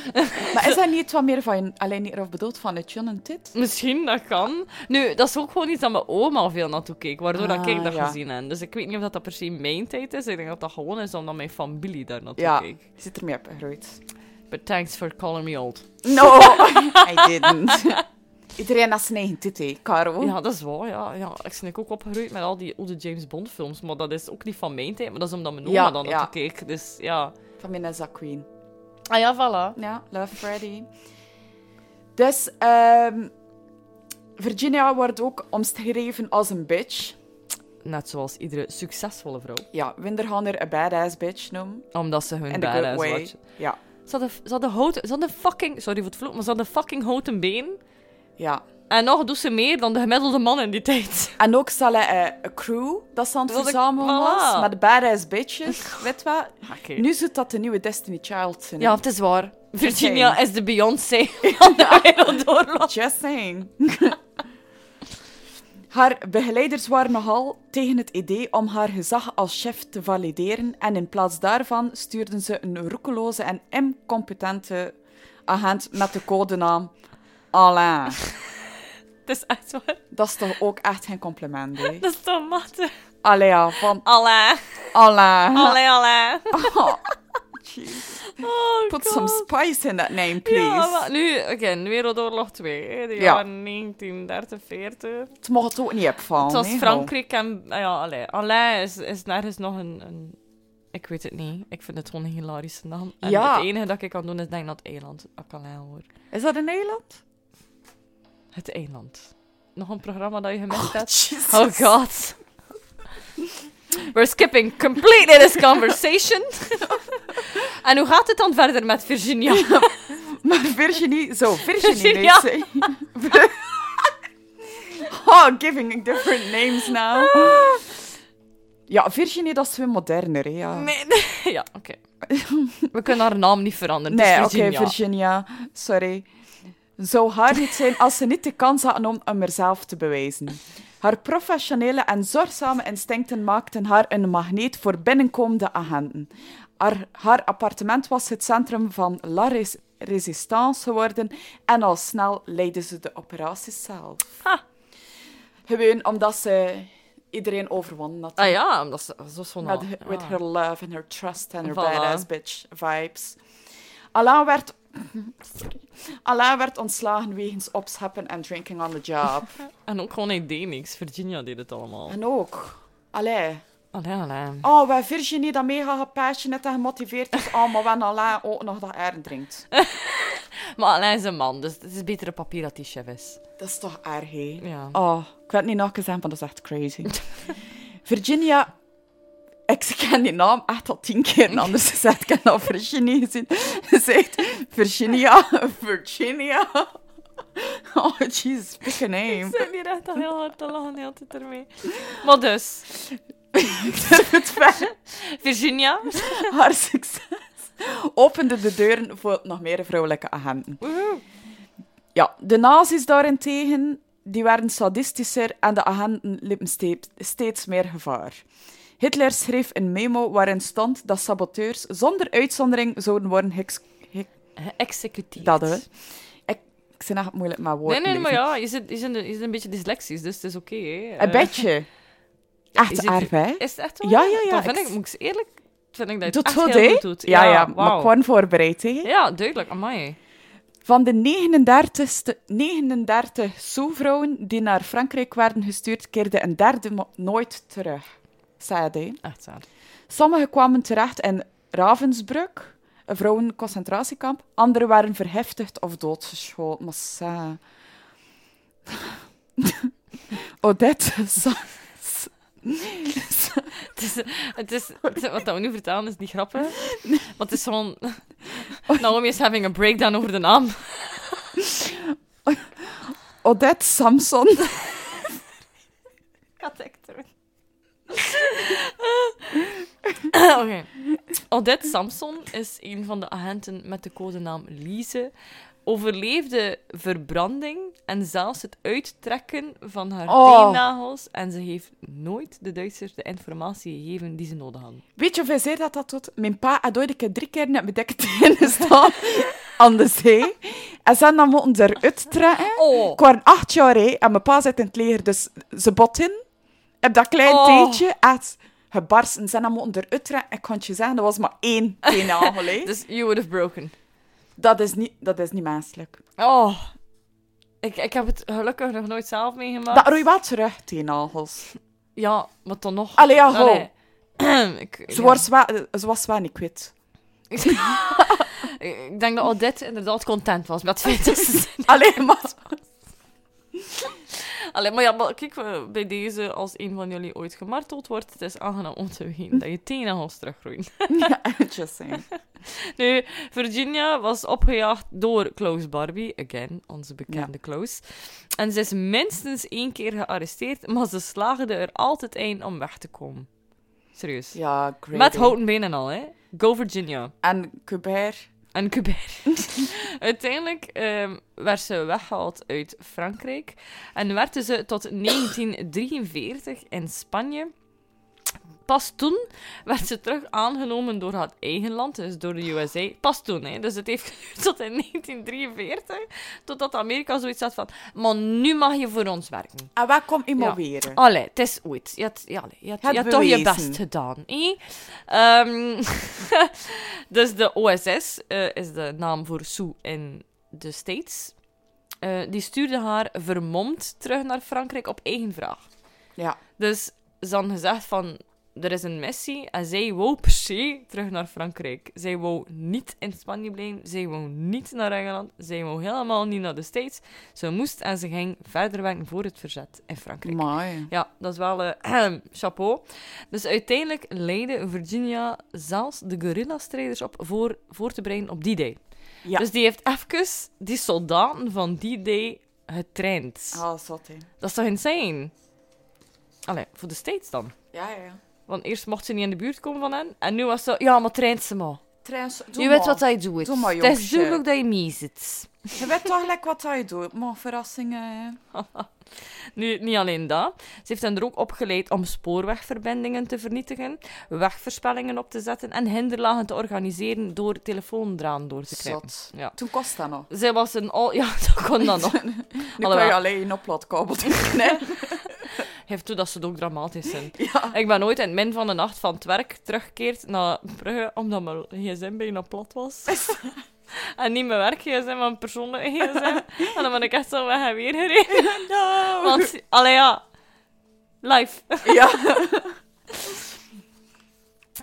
S2: Maar is dat niet wat meer van, alleen niet of bedoeld van het John en Tit?
S1: Misschien, dat kan. Nu, dat is ook gewoon iets dat mijn oma veel naartoe keek, waardoor dat ik
S2: Ah,
S1: dat
S2: ja.
S1: gezien heb. Dus ik weet niet of dat, dat per se mijn tijd is. Ik denk dat dat gewoon is omdat mijn familie daar naartoe
S2: Ja,
S1: keek.
S2: zit ermee opgegroeid.
S1: But thanks for calling me old.
S2: No, I didn't. Iedereen had zijn eigen tit, hè, Caro.
S1: Ja, dat is waar, ja. ja. Ik ben ook opgegroeid met al die oude James Bond films, maar dat is ook niet van mijn tijd, maar dat is omdat mijn oma
S2: Ja,
S1: dan
S2: ja.
S1: naartoe keek. Dus ja.
S2: Van Vanessa Queen.
S1: Ah ja, voilà.
S2: Ja, Love Freddy. Dus, ehm, Virginia wordt ook omschreven als een bitch.
S1: Net zoals iedere succesvolle vrouw.
S2: Ja, Winder gaan er een badass bitch noemen.
S1: Omdat ze hun
S2: In the good
S1: badass
S2: way.
S1: was.
S2: Ja,
S1: Ze hadden, ze hadden houten... Ze hadden fucking... Sorry voor het vloek, maar ze hadden fucking houten been.
S2: ja.
S1: En nog doet ze meer dan de gemiddelde man in die tijd.
S2: En ook zal hij eh, een crew dat ze aan het
S1: Dat ik-
S2: verzamelen
S1: voilà.
S2: was. Met de badass bitches. Weet wat?
S1: Ah, Oké.
S2: Nu zit dat de nieuwe Destiny Child zijn.
S1: Ja, het is waar. Virginia
S2: Oké.
S1: is de Beyoncé van de wereldoorlog.
S2: Just saying. haar begeleiders waren nogal tegen het idee om haar gezag als chef te valideren en in plaats daarvan stuurden ze een roekeloze en incompetente agent met de codenaam Alain.
S1: Het is echt waar.
S2: Dat is toch ook echt geen compliment, hè?
S1: Dat is toch matte.
S2: Allee, ja, van
S1: Allee,
S2: Alain.
S1: allee, allee.
S2: Oh, jeez.
S1: Oh,
S2: Put
S1: God.
S2: some spice in that name,
S1: Ja,
S2: please.
S1: maar nu, oké, Wereldoorlog 2, hè, de
S2: Ja.
S1: jaren 1930, 40.
S2: Het mocht ook niet opvallen.
S1: Het was
S2: hè,
S1: Frankrijk en... ah Ja, allee. Allee is, is nergens nog een, een... Ik weet het niet. Ik vind het gewoon een hilarische naam. En
S2: Ja.
S1: het enige dat ik kan doen is denk ik naar het eiland. Ik alleen hoor.
S2: gewoon. Is dat in Nederland?
S1: Het eiland. Nog een programma dat je gemist
S2: Oh,
S1: hebt?
S2: jezus.
S1: Oh god. We're skipping completely this conversation. en hoe gaat het dan verder met Virginia?
S2: Maar Virginie, zo, Virginie
S1: Virginia.
S2: leest ze. Vir- Oh, giving different names now. Ja, Virginie, dat is weer moderner, hè, ja.
S1: Nee, nee. Ja, oké. We kunnen haar naam niet veranderen.
S2: Nee,
S1: Nee,
S2: oké,
S1: Dus Virginia.
S2: Virginia, sorry. Zou haar niet zijn als ze niet de kans hadden om hem zelf te bewijzen. Haar professionele en zorgzame instincten maakten haar een magneet voor binnenkomende agenten. Haar, haar appartement was het centrum van La Res- Résistance geworden en al snel leidde ze de operaties zelf.
S1: Ha.
S2: Gewoon omdat ze iedereen overwon had.
S1: Ah ja, omdat ze zo Ah. zo'n
S2: Met, he- with her love and her trust and her
S1: Voilà.
S2: badass bitch vibes. Alain werd... Sorry. Alain werd ontslagen wegens opscheppen en drinking on the job.
S1: En ook gewoon, hij deed niks. Virginia deed het allemaal.
S2: en ook... Allee.
S1: Allee, allee.
S2: Oh, wij Virginie dat mega gepassioneerd en gemotiveerd is. Oh, maar wanneer Alain ook nog dat air drinkt.
S1: Maar Alain is een man, dus het is beter op papier dat hij chef is.
S2: Dat is toch erg, hè?
S1: Ja.
S2: Oh, ik wil het niet nog eens zeggen, want dat is echt crazy. Virginia... Ik ken die naam echt al tien keer anders gezegd. Ik heb al Virginie gezien. Ze heet Virginia, Virginia. Oh, jeez, pick a
S1: Ik
S2: name.
S1: zit hier echt al heel hard te lachen, heel tijd ermee. Maar dus,
S2: Het ver-
S1: Virginia.
S2: Haar succes opende de deuren voor nog meer vrouwelijke agenten.
S1: Woehoe.
S2: Ja, de nazi's daarentegen, die werden sadistischer en de agenten liepen steep- steeds meer gevaar. Hitler schreef een memo waarin stond dat saboteurs zonder uitzondering zouden worden geëx... ge-
S1: Executief.
S2: Dat, hè. Ik, ik ben echt moeilijk met
S1: Nee,
S2: woorden.
S1: nee, maar
S2: lezen.
S1: ja, je zit, je zit, een, je zit een beetje dyslexisch, dus het is oké. hè.
S2: Een
S1: Eh,
S2: beetje.
S1: is
S2: Echt
S1: het-
S2: erg, hè?
S1: Is het echt waar?
S2: Ja, ja, ja,
S1: Dan vind
S2: ik-
S1: ik, moet ik eerlijk, vind ik dat je het
S2: Doet
S1: echt
S2: goed,
S1: heel
S2: hè?
S1: goed doet.
S2: Ja, ja, maar
S1: wauw.
S2: ik word voorbereid, hè?
S1: Ja, duidelijk, amai.
S2: Van de 39, 39 Soe-vrouwen die naar Frankrijk werden gestuurd, keerde een derde mo- nooit terug. Sad, hè?
S1: Echt zaad.
S2: Sommigen kwamen terecht in Ravensbrück, een vrouwenconcentratiekamp. Anderen waren verheftigd of doodgeschoten. Maar sa. Odette Sans.
S1: Het is, het is, het is- wat dat we nu vertalen is niet grappig, want het is gewoon... Naomi is having a breakdown over de naam.
S2: Odette Samson.
S1: Gaat ik terug. Oké. Odette Samson is een van de agenten met de codenaam Lise. overleefde verbranding en zelfs het uittrekken van haar
S2: Oh.
S1: teennagels. En ze heeft nooit de Duitsers de informatie gegeven die ze nodig hadden.
S2: Weet je hoeveel zeer dat dat doet? Mijn pa had ooit een keer drie keer met mijn dikke tenen staan aan de zee. En ze hadden dan moeten ze eruit trekken.
S1: Oh.
S2: Ik was acht jaar hè, en mijn pa zit in het leger, dus ze bot in. Heb dat klein
S1: Oh.
S2: teentje echt gebarsten. Ze hadden dan moeten eruit trekken. Ik kan het je zeggen, dat was maar één teennagel. hè.
S1: Dus you would have broken.
S2: dat, is niet, dat is niet menselijk.
S1: Oh. Ik, ik heb het gelukkig nog nooit zelf meegemaakt.
S2: Dat roei wel terug, teennagels.
S1: Ja, maar dan nog.
S2: Allee, ja, ho.
S1: ik,
S2: Ze
S1: ja.
S2: was wel- eh, ze was wel niet kwit.
S1: ik denk dat Odette inderdaad content was met het feit dat ze
S2: Alleen maar...
S1: Allee, maar ja, maar kijk, eh, bij deze, als een van jullie ooit gemarteld wordt, het is aangenaam om te weten dat je teennagels teruggroeien.
S2: Just saying.
S1: Nu, Virginia was opgejaagd door Klaus Barbie, again, onze bekende Klaus. En ze is minstens één keer gearresteerd, maar ze slaagde er altijd in om weg te komen. Serieus.
S2: Ja, great.
S1: Met
S2: hè.
S1: houten benen al, hè. Go Virginia.
S2: En Cubert.
S1: En Cuber. Uiteindelijk ehm, werd ze weggehaald uit Frankrijk en werkte ze tot 1943 in Spanje. Pas toen werd ze terug aangenomen door haar eigen land, dus door de USA. Pas toen, hè. Dus het heeft geduurd tot in 1943, totdat Amerika zoiets had van... Maar nu mag je voor ons werken.
S2: En Ah, waar komt
S1: Ja. Oh,
S2: iemand weer?
S1: Allee, het is ooit. Je had, ja, allee, je had,
S2: Het
S1: je had toch je
S2: bewezen.
S1: best gedaan. hè? Ehm, dus de OSS eh, is de naam voor Sue in de States. Eh, die stuurde haar vermomd terug naar Frankrijk op eigen vraag.
S2: Ja.
S1: Dus ze had gezegd van, er is een missie en zij wou per se terug naar Frankrijk. Zij wou niet in Spanje blijven, zij wou niet naar Engeland, zij wou helemaal niet naar de States. Ze moest en ze ging verder werken voor het verzet in Frankrijk.
S2: Mooi.
S1: Ja, dat is wel eh chapeau. Dus uiteindelijk leidde Virginia zelfs de guerrilla-strijders op voor, voor te brengen op die day.
S2: Ja.
S1: Dus die heeft even die soldaten van die day getraind.
S2: Ah, zot, hè.
S1: Dat is toch insane? Allee, voor de States dan.
S2: Ja, ja.
S1: Want eerst mocht ze niet in de buurt komen van hen. En nu was ze... Ja, maar traint ze maar.
S2: Trends, doe
S1: je weet wat hij doet.
S2: Doe maar,
S1: het is
S2: jongetje.
S1: duidelijk dat je mee zit.
S2: Je weet toch gelijk wat hij doet. Maar verrassingen, hè.
S1: Nu, niet alleen dat. Ze heeft hen er ook opgeleid om spoorwegverbindingen te vernietigen, wegverspellingen op te zetten en hinderlagen te organiseren door telefoondraan door te knippen.
S2: Zot.
S1: Ja.
S2: Toen kost dat nog.
S1: Zij was een al... Ja, dat kon dan nog.
S2: Nu kan je
S1: Alhoewel.
S2: alleen een opladkabel doen.
S1: Heeft toe dat ze het ook dramatisch zijn.
S2: Ja.
S1: Ik ben ooit in het min van de nacht van het werk teruggekeerd naar Brugge, omdat mijn gsm bijna plat was. en niet mijn werk gsm, maar mijn persoonlijke gsm. en dan ben ik echt zo weg en weer gereden.
S2: No.
S1: Want, allee ja, live.
S2: Ja.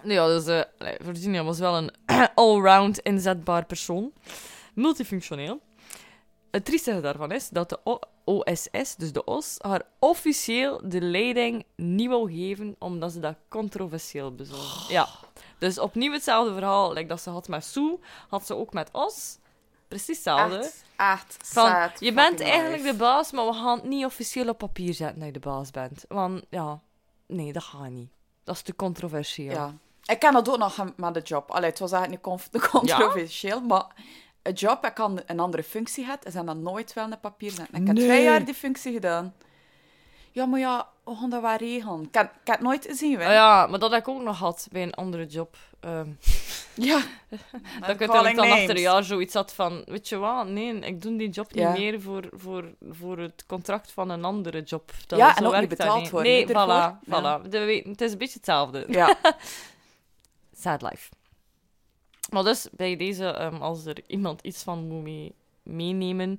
S1: Nou ja, dus eh, allee, Virginia was wel een allround inzetbaar persoon. Multifunctioneel. Het triestige daarvan is dat de O- OSS, dus de OS, haar officieel de leiding niet wou geven, omdat ze dat controversieel
S2: Oh.
S1: bezond. Ja. Dus opnieuw hetzelfde verhaal like dat ze had met Sue, had ze ook met OS. Precies hetzelfde.
S2: Echt, echt
S1: Van,
S2: sad
S1: je bent
S2: fucking
S1: eigenlijk de
S2: life.
S1: baas, maar we gaan het niet officieel op papier zetten dat je de baas bent. Want ja, nee, dat gaat niet. Dat is te controversieel.
S2: Ja. Ik ken dat ook nog hem- met de job. Allee, het was eigenlijk niet conf- controversieel, maar... Een job, ik kan een andere functie had, en zijn dan nooit wel een papier zetten. Ik heb
S1: Nee.
S2: twee jaar die functie gedaan. Ja, maar ja, we gaan dat wel regelen. Ik heb ik heb het nooit gezien,
S1: Ah
S2: hè.
S1: ja, maar dat heb ik ook nog gehad bij een andere job. Ehm
S2: Ja.
S1: dat ik uiteindelijk dan achter een jaar zoiets had van... Weet je wat? Nee, ik doe die job
S2: Ja.
S1: niet meer voor, voor, voor het contract van een andere job. Dat
S2: Ja,
S1: zo
S2: en ook niet
S1: werkt dat
S2: betaald
S1: niet.
S2: worden,
S1: Nee,
S2: hè,
S1: voilà.
S2: daarvoor. Ja.
S1: voilà. Dat weet- het is een beetje hetzelfde.
S2: Ja.
S1: Sad life. Maar dus, bij deze, ehm, als er iemand iets van moet mee- meenemen...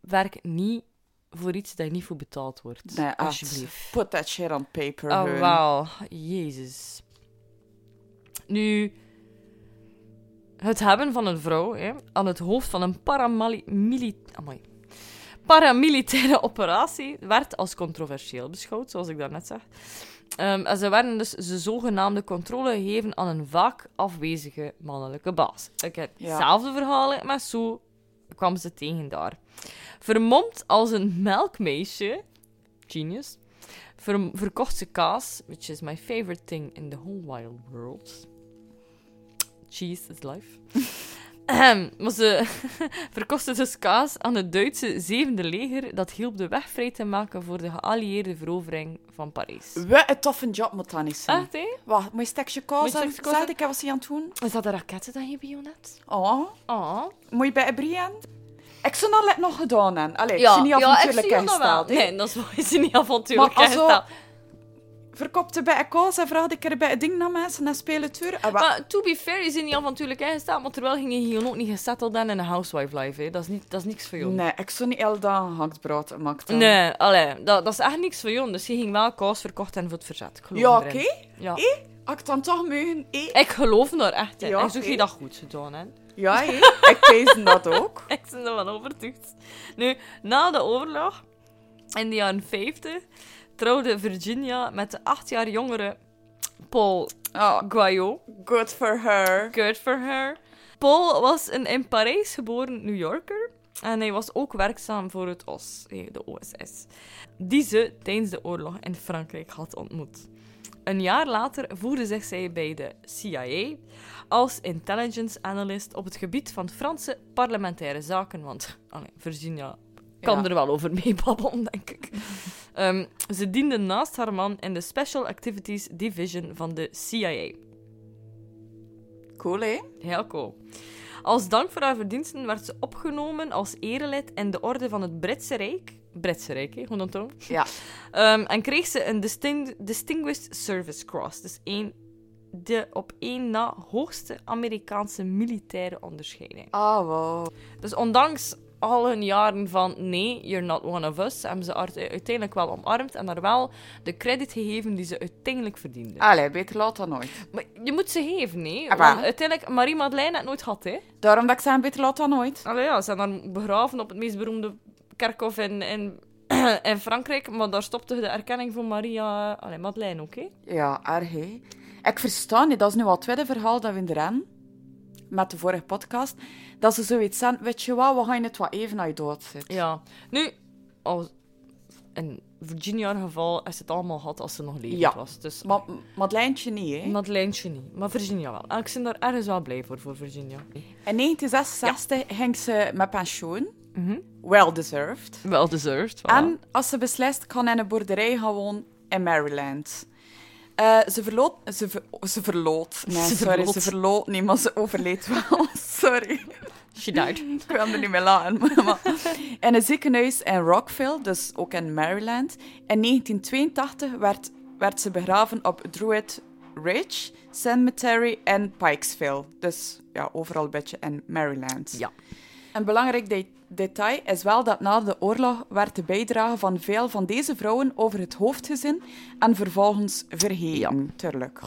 S1: Werk niet voor iets dat je niet voor betaald wordt.
S2: Nee, ah, echt.
S1: Alsjeblieft.
S2: Put that shit on paper.
S1: Oh,
S2: hun.
S1: wauw. Jezus. Nu, het hebben van een vrouw hè, aan het hoofd van een paramali- mili- amai. paramilitaire operatie werd als controversieel beschouwd, zoals ik daarnet zeg. Ehm, en ze werden dus de zogenaamde controle gegeven aan een vaak afwezige mannelijke baas. Ik heb
S2: Ja.
S1: hetzelfde verhaal hè, met Sue, kwam ze tegen daar. Vermomd als een melkmeisje, genius, ver- verkocht ze kaas, which is my favorite thing in the whole wild world. Cheese is life. Ahem, maar ze verkochten dus kaas aan het Duitse zevende leger dat hielp de weg vrij te maken voor de geallieerde verovering van Parijs.
S2: Wat een toffe job moet dat niet zijn.
S1: Echt, hè?
S2: Wacht, moet je stekje
S1: Moet
S2: kaas
S1: je
S2: aan?
S1: stekje kaas
S2: Zeg ik, wat was hij aan het doen?
S1: Is dat de raketten dat je bij jou net?
S2: Oh,
S1: Oh.
S2: moet je bij Brian? Ik zou dat net nog gedaan hebben. Allee, ik zie niet avontuurlijk ingesteld. hè.
S1: Nee, dat is waar. Is niet avontuurlijk
S2: Maar als zo-
S1: ingesteld.
S2: Verkoopte bij een kaas en vraagde ik er bij het ding naar mensen en spelen het uur. En wat-
S1: Maar to be fair, je bent niet avontuurlijk ingesteld, maar terwijl ging je hier ook niet gesetteld dan in een housewife life. Hè. Dat, is niet, dat is niks voor jou.
S2: Nee, ik zou niet elke dag een gehaktbrood gemaakt hebben.
S1: Nee, allee, dat, dat is echt niks voor jou. Dus je ging wel kaas verkocht en voor het verzet. Ik geloof
S2: Ja, oké.
S1: erin. Ja.
S2: Had ik dan toch mogen eten?
S1: Ik geloof er echt in.
S2: Ja,
S1: ik zoek
S2: oké.
S1: je dat goed gedaan, hè.
S2: Ja, hé. ik pees dat ook.
S1: Ik ben ervan overtuigd. Nu, na de oorlog, in de jaren 50, trouwde Virginia met de acht jaar jongere Paul
S2: Oh,
S1: Guayot.
S2: good for her.
S1: Good for her. Paul was een in Parijs geboren New Yorker. En hij was ook werkzaam voor het OS, eh, de OSS, die ze tijdens de oorlog in Frankrijk had ontmoet. Een jaar later voerde zich zij bij de CIA als intelligence analyst op het gebied van Franse parlementaire zaken. Want allee, Virginia kan
S2: Ja.
S1: er wel over meebabbelen, denk ik. Ehm, ze diende naast haar man in de Special Activities Division van de CIA.
S2: Cool, hé?
S1: Heel cool. Als dank voor haar verdiensten werd ze opgenomen als erelid in de orde van het Britse Rijk. Britse Rijk, hè? Gewoon dan Ehm,
S2: Ja.
S1: en kreeg ze een disting- Distinguished Service Cross. Dus één, de op één na hoogste Amerikaanse militaire onderscheiding.
S2: Ah, wow.
S1: Dus ondanks al hun jaren van nee, you're not one of us, hebben ze haar uiteindelijk wel omarmd en haar wel de credit gegeven die ze uiteindelijk verdiende.
S2: Allee, beter laat dan nooit.
S1: Maar je moet ze geven, nee.
S2: Ah, waar?
S1: Want uiteindelijk, Marie-Madeleine had het nooit gehad, hè.
S2: Daarom dat ik zei, beter laat dan nooit.
S1: Allee, ja, ze zijn dan begraven op het meest beroemde kerkhof in, in, in Frankrijk. Maar daar stopte de erkenning van Maria... Allee, Madeleine ook, hè?
S2: Ja, erg, hé. Ik versta niet, dat is nu al het tweede verhaal dat we in de ren, met de vorige podcast, dat ze zoiets zijn, weet je wat, we gaan het wat even naar je dood zitten.
S1: Ja. Nu, als, in Virginia haar geval is het allemaal gehad als ze nog levend
S2: Ja.
S1: was. Dus
S2: Maar Madeleintje niet, hè.
S1: Madeleine niet. Maar Virginia wel. En ik ben daar ergens wel blij voor, voor Virginia.
S2: In 1966 ging ze met pensioen.
S1: Mhm.
S2: Well deserved.
S1: Wel deserved, voilà.
S2: En als ze beslist, kan in een boerderij gaan wonen in Maryland. Eh, ze verloot... Ze, ver, ze verloot. Nee,
S1: Ze
S2: sorry,
S1: verloot.
S2: ze verloot niet, maar ze overleed wel. sorry,
S1: She died.
S2: ik kwam er niet meer lachen. maar- maar- In een ziekenhuis in Rockville, dus ook in Maryland. In 1982 werd, werd ze begraven op Druid Ridge Cemetery in Pikesville. Dus ja, overal een beetje in Maryland.
S1: Ja.
S2: Een belangrijk de- detail is wel dat na de oorlog werd de bijdrage van veel van deze vrouwen over het hoofd gezien en vervolgens vergeten. Tuurlijk.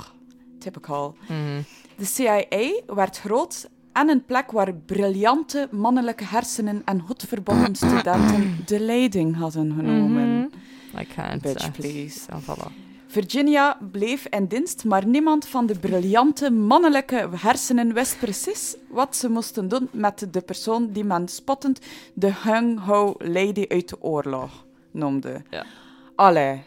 S2: Typical. De CIA werd groot en een plek waar briljante mannelijke hersenen en goed verbonden studenten de leiding hadden genomen.
S1: I can't.
S2: Bitch,
S1: eh,
S2: please.
S1: Ja, voilà.
S2: Virginia bleef in dienst, maar niemand van de briljante mannelijke hersenen wist precies wat ze moesten doen met de persoon die men spottend de hung-ho lady uit de oorlog noemde.
S1: Ja.
S2: Allee.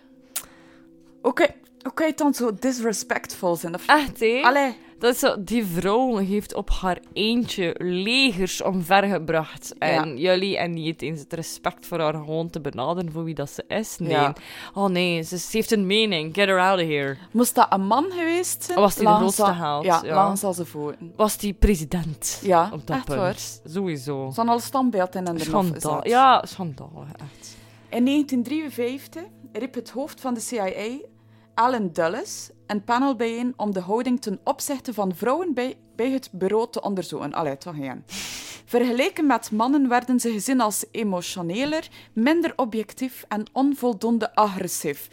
S2: Oké, oké, dan zo disrespectful zijn. Of...
S1: Echt, hè?
S2: Allee.
S1: Dat is zo, die vrouw heeft op haar eentje legers omvergebracht. En jullie en niet eens het respect voor haar gewoon te benaderen voor wie dat ze is. Nee.
S2: Ja.
S1: Oh nee, ze, ze heeft een mening. Get her out of here.
S2: Moest dat een man geweest zijn?
S1: Was die de
S2: langs
S1: grootste
S2: al-
S1: held,
S2: Ja,
S1: ja.
S2: langs al zijn voeten.
S1: Was die president?
S2: Ja,
S1: op dat
S2: echt
S1: punt.
S2: waar.
S1: Sowieso.
S2: Zo'n al standbeeld in en de nof
S1: Schandaal.
S2: gezet.
S1: Ja, schandaal. Echt.
S2: In 1953 riep het hoofd van de CIA, Alan Dulles, een panel bijeen om de houding ten opzichte van vrouwen bij, bij het bureau te onderzoeken. Allee, toch geen. Vergeleken met mannen werden ze gezien als emotioneler, minder objectief en onvoldoende agressief.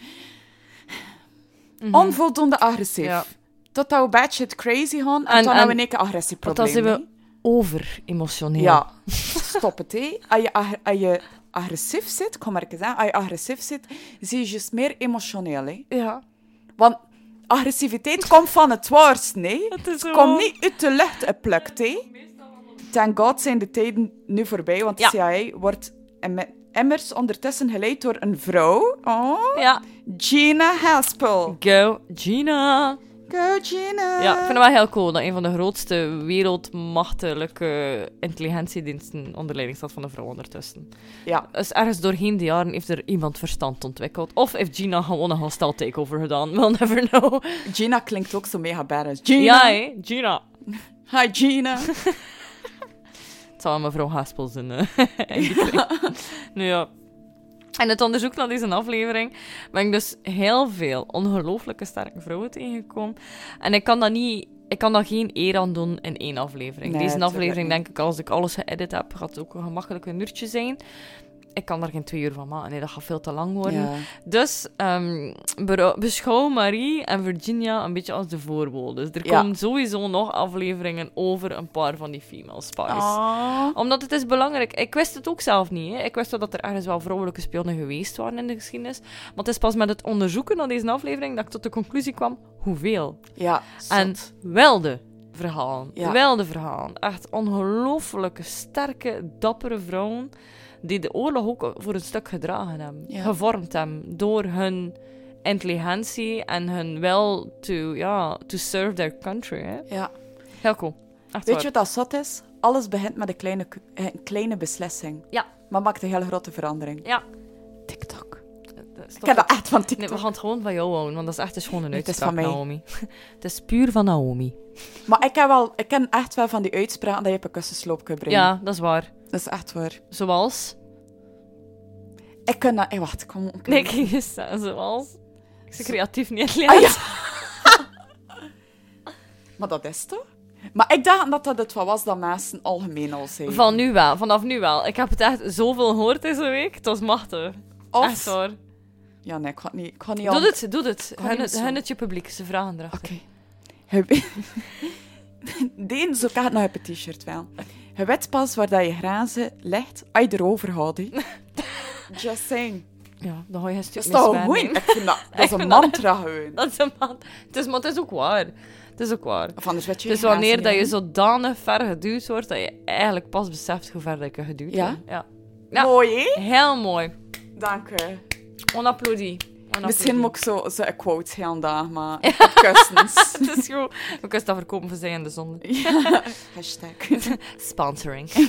S2: Onvoldoende agressief.
S1: Mhm. Ja.
S2: Totdat we een beetje het crazy gaan en,
S1: En-
S2: dan hebben
S1: en-
S2: we een keer
S1: Want dan
S2: agressieprobleem.
S1: zijn
S2: hè?
S1: we over-emotioneel.
S2: Ja, stop het, hé. Als je, ag- als je agressief zit, kom maar eens aan, als je agressief zit, zie je juist meer emotioneel, hè.
S1: Ja.
S2: Want agressiviteit komt van het woord, nee.
S1: Het is zo.
S2: komt niet uit de lucht geplukt, hè. Thank god zijn de tijden nu voorbij, want de
S1: Ja.
S2: CIA wordt em- immers ondertussen geleid door een vrouw. Oh,
S1: Ja.
S2: Gina Haspel.
S1: Go, Gina.
S2: Kutjine.
S1: Ja, ik vind het wel heel cool dat een van de grootste wereldmachtelijke intelligentiediensten onder leiding staat van een vrouw ondertussen.
S2: Ja.
S1: Dus ergens doorheen de jaren heeft er iemand verstand ontwikkeld. Of heeft Gina gewoon een hostile takeover gedaan. We'll never know.
S2: Gina klinkt ook zo mega badass. Gina.
S1: Ja, hè? Gina.
S2: Hi, Gina.
S1: Het zal wel mevrouw Haspel zijn. eh, in die kring. nu ja. En het onderzoek naar deze aflevering ben ik dus heel veel ongelooflijke sterke vrouwen tegengekomen. En ik kan dat niet... Ik kan daar geen eer aan doen in één aflevering.
S2: Nee,
S1: Deze
S2: tuurlijk
S1: aflevering,
S2: niet.
S1: denk ik, als ik alles geëdit heb, gaat het ook een gemakkelijk een uurtje zijn. Ik kan daar geen twee uur van maken. Nee, dat gaat veel te lang worden.
S2: Ja.
S1: Dus ehm, berou- beschouw Marie en Virginia een beetje als de voorbeelden. Dus er
S2: Ja.
S1: komen sowieso nog afleveringen over een paar van die female spies
S2: Ah.
S1: omdat het is belangrijk. Ik wist het ook zelf niet. Hè. Ik wist wel dat er ergens wel vrouwelijke spionnen geweest waren in de geschiedenis. Maar het is pas met het onderzoeken naar deze aflevering dat ik tot de conclusie kwam hoeveel.
S2: Ja, zot.
S1: En wel de verhalen.
S2: Ja.
S1: Wel de verhalen. Echt ongelooflijke, sterke, dappere vrouwen die de oorlog ook voor een stuk gedragen hebben.
S2: Ja.
S1: Gevormd hebben door hun intelligentie en hun wel to, ja, to serve their country. Hè.
S2: Ja.
S1: Heel cool. Echt
S2: Weet
S1: waar.
S2: je wat dat zot is? Alles begint met een kleine, k- eh, een kleine beslissing.
S1: Ja.
S2: Maar maakt een hele grote verandering.
S1: Ja.
S2: TikTok.
S1: Eh, Stop
S2: Ik heb dat echt van
S1: Nee,
S2: TikTok.
S1: we gaan het gewoon van jou houden, want dat is echt een schone
S2: Het is
S1: uitspraak,
S2: van mij.
S1: Naomi. het is puur van Naomi.
S2: Maar ik, heb wel, ik ken echt wel van die uitspraken dat je op een kussensloop kunt brengen.
S1: Ja, dat is waar.
S2: Dat is echt waar.
S1: Zoals...
S2: Ik kan dat... eh, wacht, kom. ik-
S1: Nee, ik ging eens zeggen, zoals... Ik ben creatief niet in het
S2: Ah,
S1: leven.
S2: ja. maar dat is toch? Maar ik dacht dat dat het wat was dat mensen algemeen al zeiden.
S1: Van nu wel, vanaf nu wel. Ik heb het echt zoveel gehoord deze week. Het was machtig.
S2: Of-
S1: Echt hoor.
S2: Ja, nee, ik ga het niet... Ik ga het niet
S1: Doe
S2: al-
S1: het, doe het.
S2: niet
S1: Hun het,
S2: zo.
S1: hun het je publiek, ze vragen erachter.
S2: Oké. Okay. Deen, zo kan het nog op het t-shirt wel. Je weet pas waar dat je grazen legt als je erover houdt. hè. Just saying.
S1: Ja, dan ga je een stuk
S2: Dat is
S1: meer
S2: toch
S1: zwijnen.
S2: goed? Ik vind dat, dat is een mantra gewoon.
S1: Dat is een man. Het is, maar het is ook waar. Het is ook waar.
S2: Of anders weet je
S1: Dus
S2: je grazen
S1: wanneer dat je
S2: niet, hè.
S1: zodanig ver geduwd wordt, dat je eigenlijk pas beseft hoe ver dat je geduwd
S2: Ja?
S1: wordt. Ja. Ja.
S2: Mooi, hè?
S1: Heel mooi.
S2: Dank u.
S1: On applaudie. On
S2: Misschien
S1: applaudie.
S2: moet ik zo, zo een quote heel dag, maar op kussens.
S1: Het is goed. We kunnen dat verkopen voor zij en de zonde.
S2: Ja. Hashtag.
S1: Sponsoring.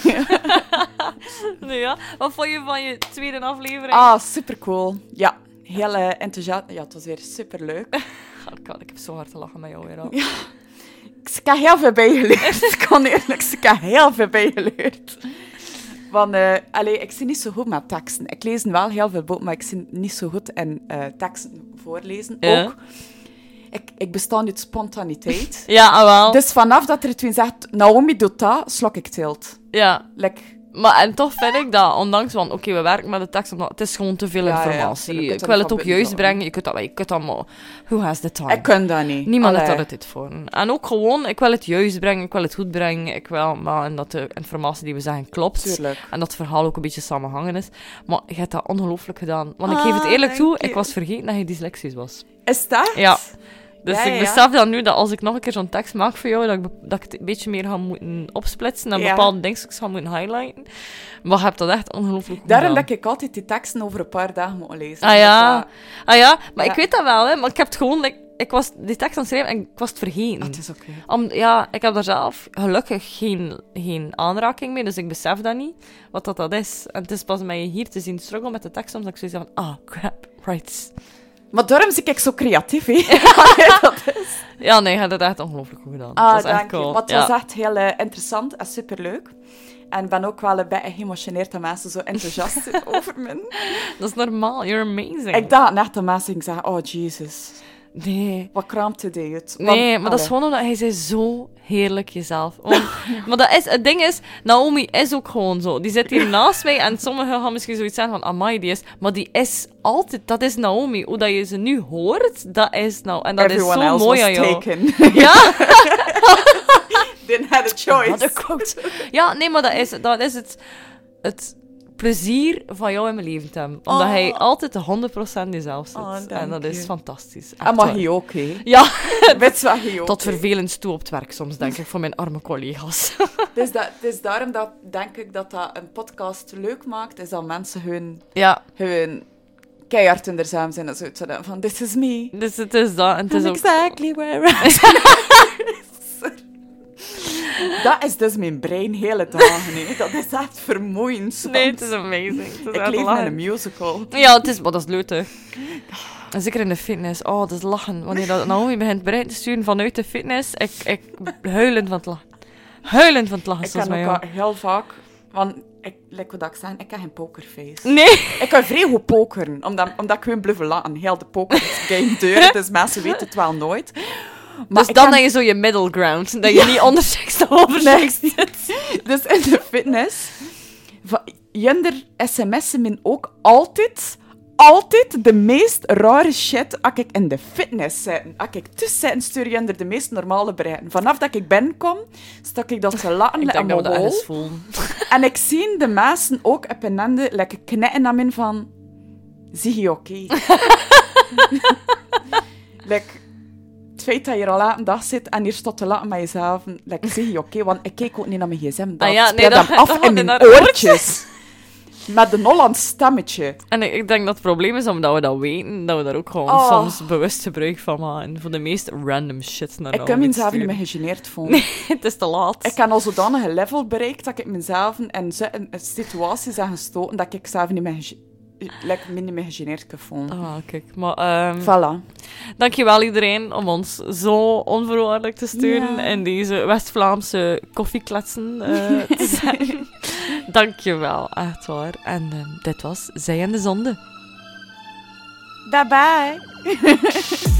S1: nou ja, wat vond je van je tweede aflevering?
S2: Ah, supercool. Ja, heel eh, enthousiast. Ja, het was weer superleuk.
S1: Oh, God, ik heb zo hard te lachen met jou weer al.
S2: Ik heb heel veel bijgeleerd. Ik kan eerlijk zeggen, ik heb heel veel bijgeleerd. Want, eh, allee, ik zie niet zo goed met teksten. Ik lees wel heel veel boeken, maar ik zie niet zo goed in eh, teksten voorlezen.
S1: Ja.
S2: Ook, ik, ik bestaan uit spontaniteit.
S1: Ja, ah, wel.
S2: dus vanaf dat er twee zegt, Naomi doet dat, slok ik tilt.
S1: Ja.
S2: Like,
S1: Maar en toch vind ik dat, ondanks van, oké, we werken met de tekst, omdat het is gewoon te veel
S2: Ja, ja,
S1: informatie.
S2: tuurlijk, je
S1: ik
S2: kunt
S1: wil
S2: er
S1: het
S2: van
S1: ook juist
S2: binnen
S1: brengen. Je kunt dat, je kunt dat maar... Who has the time?
S2: ik kan dat niet.
S1: Niemand heeft
S2: Allee.
S1: daar het dit voor. En ook gewoon, ik wil het juist brengen, ik wil het goed brengen, ik wil, maar en dat de informatie die we zeggen klopt.
S2: Tuurlijk.
S1: En dat het verhaal ook een beetje samenhangen is. Maar je hebt dat ongelooflijk gedaan. Want ik
S2: Ah,
S1: geef het eerlijk
S2: dank
S1: toe,
S2: je.
S1: ik was vergeten dat je dyslexisch was.
S2: Is dat?
S1: Ja. Dus
S2: Ja, ja,
S1: ik
S2: ja.
S1: besef dan nu dat als ik nog een keer zo'n tekst maak voor jou, dat ik, be- dat ik het een beetje meer ga moeten opsplitsen en
S2: Ja.
S1: bepaalde dingetjes ga moeten highlighten. Maar je hebt dat echt ongelooflijk goed
S2: Daarom
S1: gedaan.
S2: dat ik altijd die teksten over een paar dagen moet lezen.
S1: Ah ja,
S2: Dat, eh,
S1: ah, ja. maar
S2: Ja.
S1: ik weet dat wel, hè. Maar ik heb het gewoon... like, ik was die tekst aan het schrijven en ik was het vergeten.
S2: ah, het is oké.
S1: Om, ja, ik heb daar zelf gelukkig geen, geen aanraking mee, dus ik besef dat niet, wat dat, dat is. En het is pas mij hier te zien struggle met de tekst, omdat ik zoiets heb van, ah, crap, right.
S2: Maar daarom zie ik zo creatief, hè. Dat is-
S1: Ja, nee, je hebt het echt ongelooflijk goed gedaan.
S2: ah,
S1: dat was echt
S2: dank je.
S1: cool.
S2: Maar het
S1: ja.
S2: was echt heel eh, interessant en superleuk. En ik ben ook wel een beetje geëmotioneerd dat mensen zo enthousiast zijn over me.
S1: Dat is normaal, you're amazing.
S2: Ik dacht echt dat mensen gingen zeggen, oh Jesus,
S1: Nee.
S2: wat kraamt het uit? Want-
S1: Nee, maar dat is
S2: allee.
S1: gewoon omdat hij zei zo heerlijk jezelf. Want- maar dat is, het ding is, Naomi is ook gewoon zo. Die zit hier naast mij en sommigen gaan misschien zoiets zeggen van, amai, die is... Maar die is altijd, dat is Naomi. Hoe dat je ze nu hoort, dat is nou... En dat
S2: Everyone
S1: is zo
S2: else
S1: mooi
S2: was
S1: aan jou.
S2: taken.
S1: Ja,
S2: Didn't have a choice.
S1: Wat een ja, nee, maar dat is, dat is het, het plezier van jou in mijn leven, Tim. Omdat
S2: Oh.
S1: hij altijd de 100% jezelf zit.
S2: Oh, dank
S1: en dat is
S2: je.
S1: fantastisch. Echt
S2: En mag
S1: waar.
S2: je Ah, ook, hè.
S1: Ja,
S2: Weet je wat je ook,
S1: tot
S2: hè.
S1: vervelend toe op het werk soms, denk ik, voor mijn arme collega's.
S2: Dus, dat, dus daarom dat, denk ik dat dat een podcast leuk maakt, is dat mensen hun,
S1: ja,
S2: hun keihard in de samen zijn en zoiets gedaan van this is me.
S1: Dus het is dat. En het is
S2: I'm
S1: ook...
S2: exactly where I Dat is dus mijn brein hele dagen. hè. Dat is echt vermoeiend.
S1: Nee, het
S2: want
S1: is amazing. Het is
S2: ik
S1: echt
S2: leef in
S1: lachen.
S2: een musical.
S1: Ja, het is, maar dat is leuk, hè.
S2: Ah.
S1: En zeker in de fitness. Oh, dat is lachen. Wanneer dat Naomi begint brein te sturen vanuit de fitness, ik, ik huilen van het lachen. Huilen van het lachen,
S2: Ik
S1: zoals
S2: kan
S1: mij.
S2: ook
S1: ja.
S2: al heel vaak... Want, ik, like wat ik zei, ik heb geen pokerface.
S1: Nee,
S2: Ik kan vrij goed pokeren, omdat, omdat ik gewoon bluffen laten. Heel de poker game deuren, dus mensen weten het wel nooit. Maar
S1: dus
S2: ik
S1: dan
S2: kan-
S1: heb je zo je middle ground. Dat je niet onderseks of overseks zit.
S2: Dus in de fitness... va- Jender sms'en min ook altijd... Altijd de meest rare shit als ik in de fitness zit. Als ik tussen zit, stuur Jender de meest normale brein. Vanaf dat ik ben kom, stak ik dat te laten
S1: Ik
S2: in
S1: denk dat
S2: mijn
S1: we dat
S2: hol.
S1: ergens voelen.
S2: En ik zie de mensen ook op hun handen lekker knetten naar min van... Zie je oké? like, het feit dat je er al laat een dag zit en hier staat te laten met jezelf. Like, zie je oké? Want ik kijk ook niet naar mijn gsm. Dat
S1: Ah ja, nee,
S2: speelt
S1: dat-
S2: hem af
S1: dat gaat
S2: in
S1: in
S2: mijn
S1: haar oortjes.
S2: oortjes. Met een Hollands stemmetje.
S1: En ik ik denk dat het probleem is, omdat we dat weten, dat we daar ook gewoon
S2: Oh.
S1: soms bewust gebruik van maken. Voor de meest random shit naar
S2: Ik
S1: Naomi
S2: kan
S1: te
S2: mezelf niet
S1: sturen.
S2: meer gegeneerd voelen.
S1: het is te laat.
S2: Ik heb al zodanig een level bereikt dat ik mezelf in, zo- in situaties heb gestoten dat ik zelf niet meer, gege- like, me niet meer gegeneerd kan voelen.
S1: Ah, kijk. Maar, ehm,
S2: Voilà.
S1: Dankjewel iedereen om ons zo onvoorwaardelijk te steunen
S2: Ja.
S1: in deze West-Vlaamse koffiekletsen eh te zijn. Dankjewel, echt waar. En ehm, dit was Zij en de Zonde.
S2: Bye bye.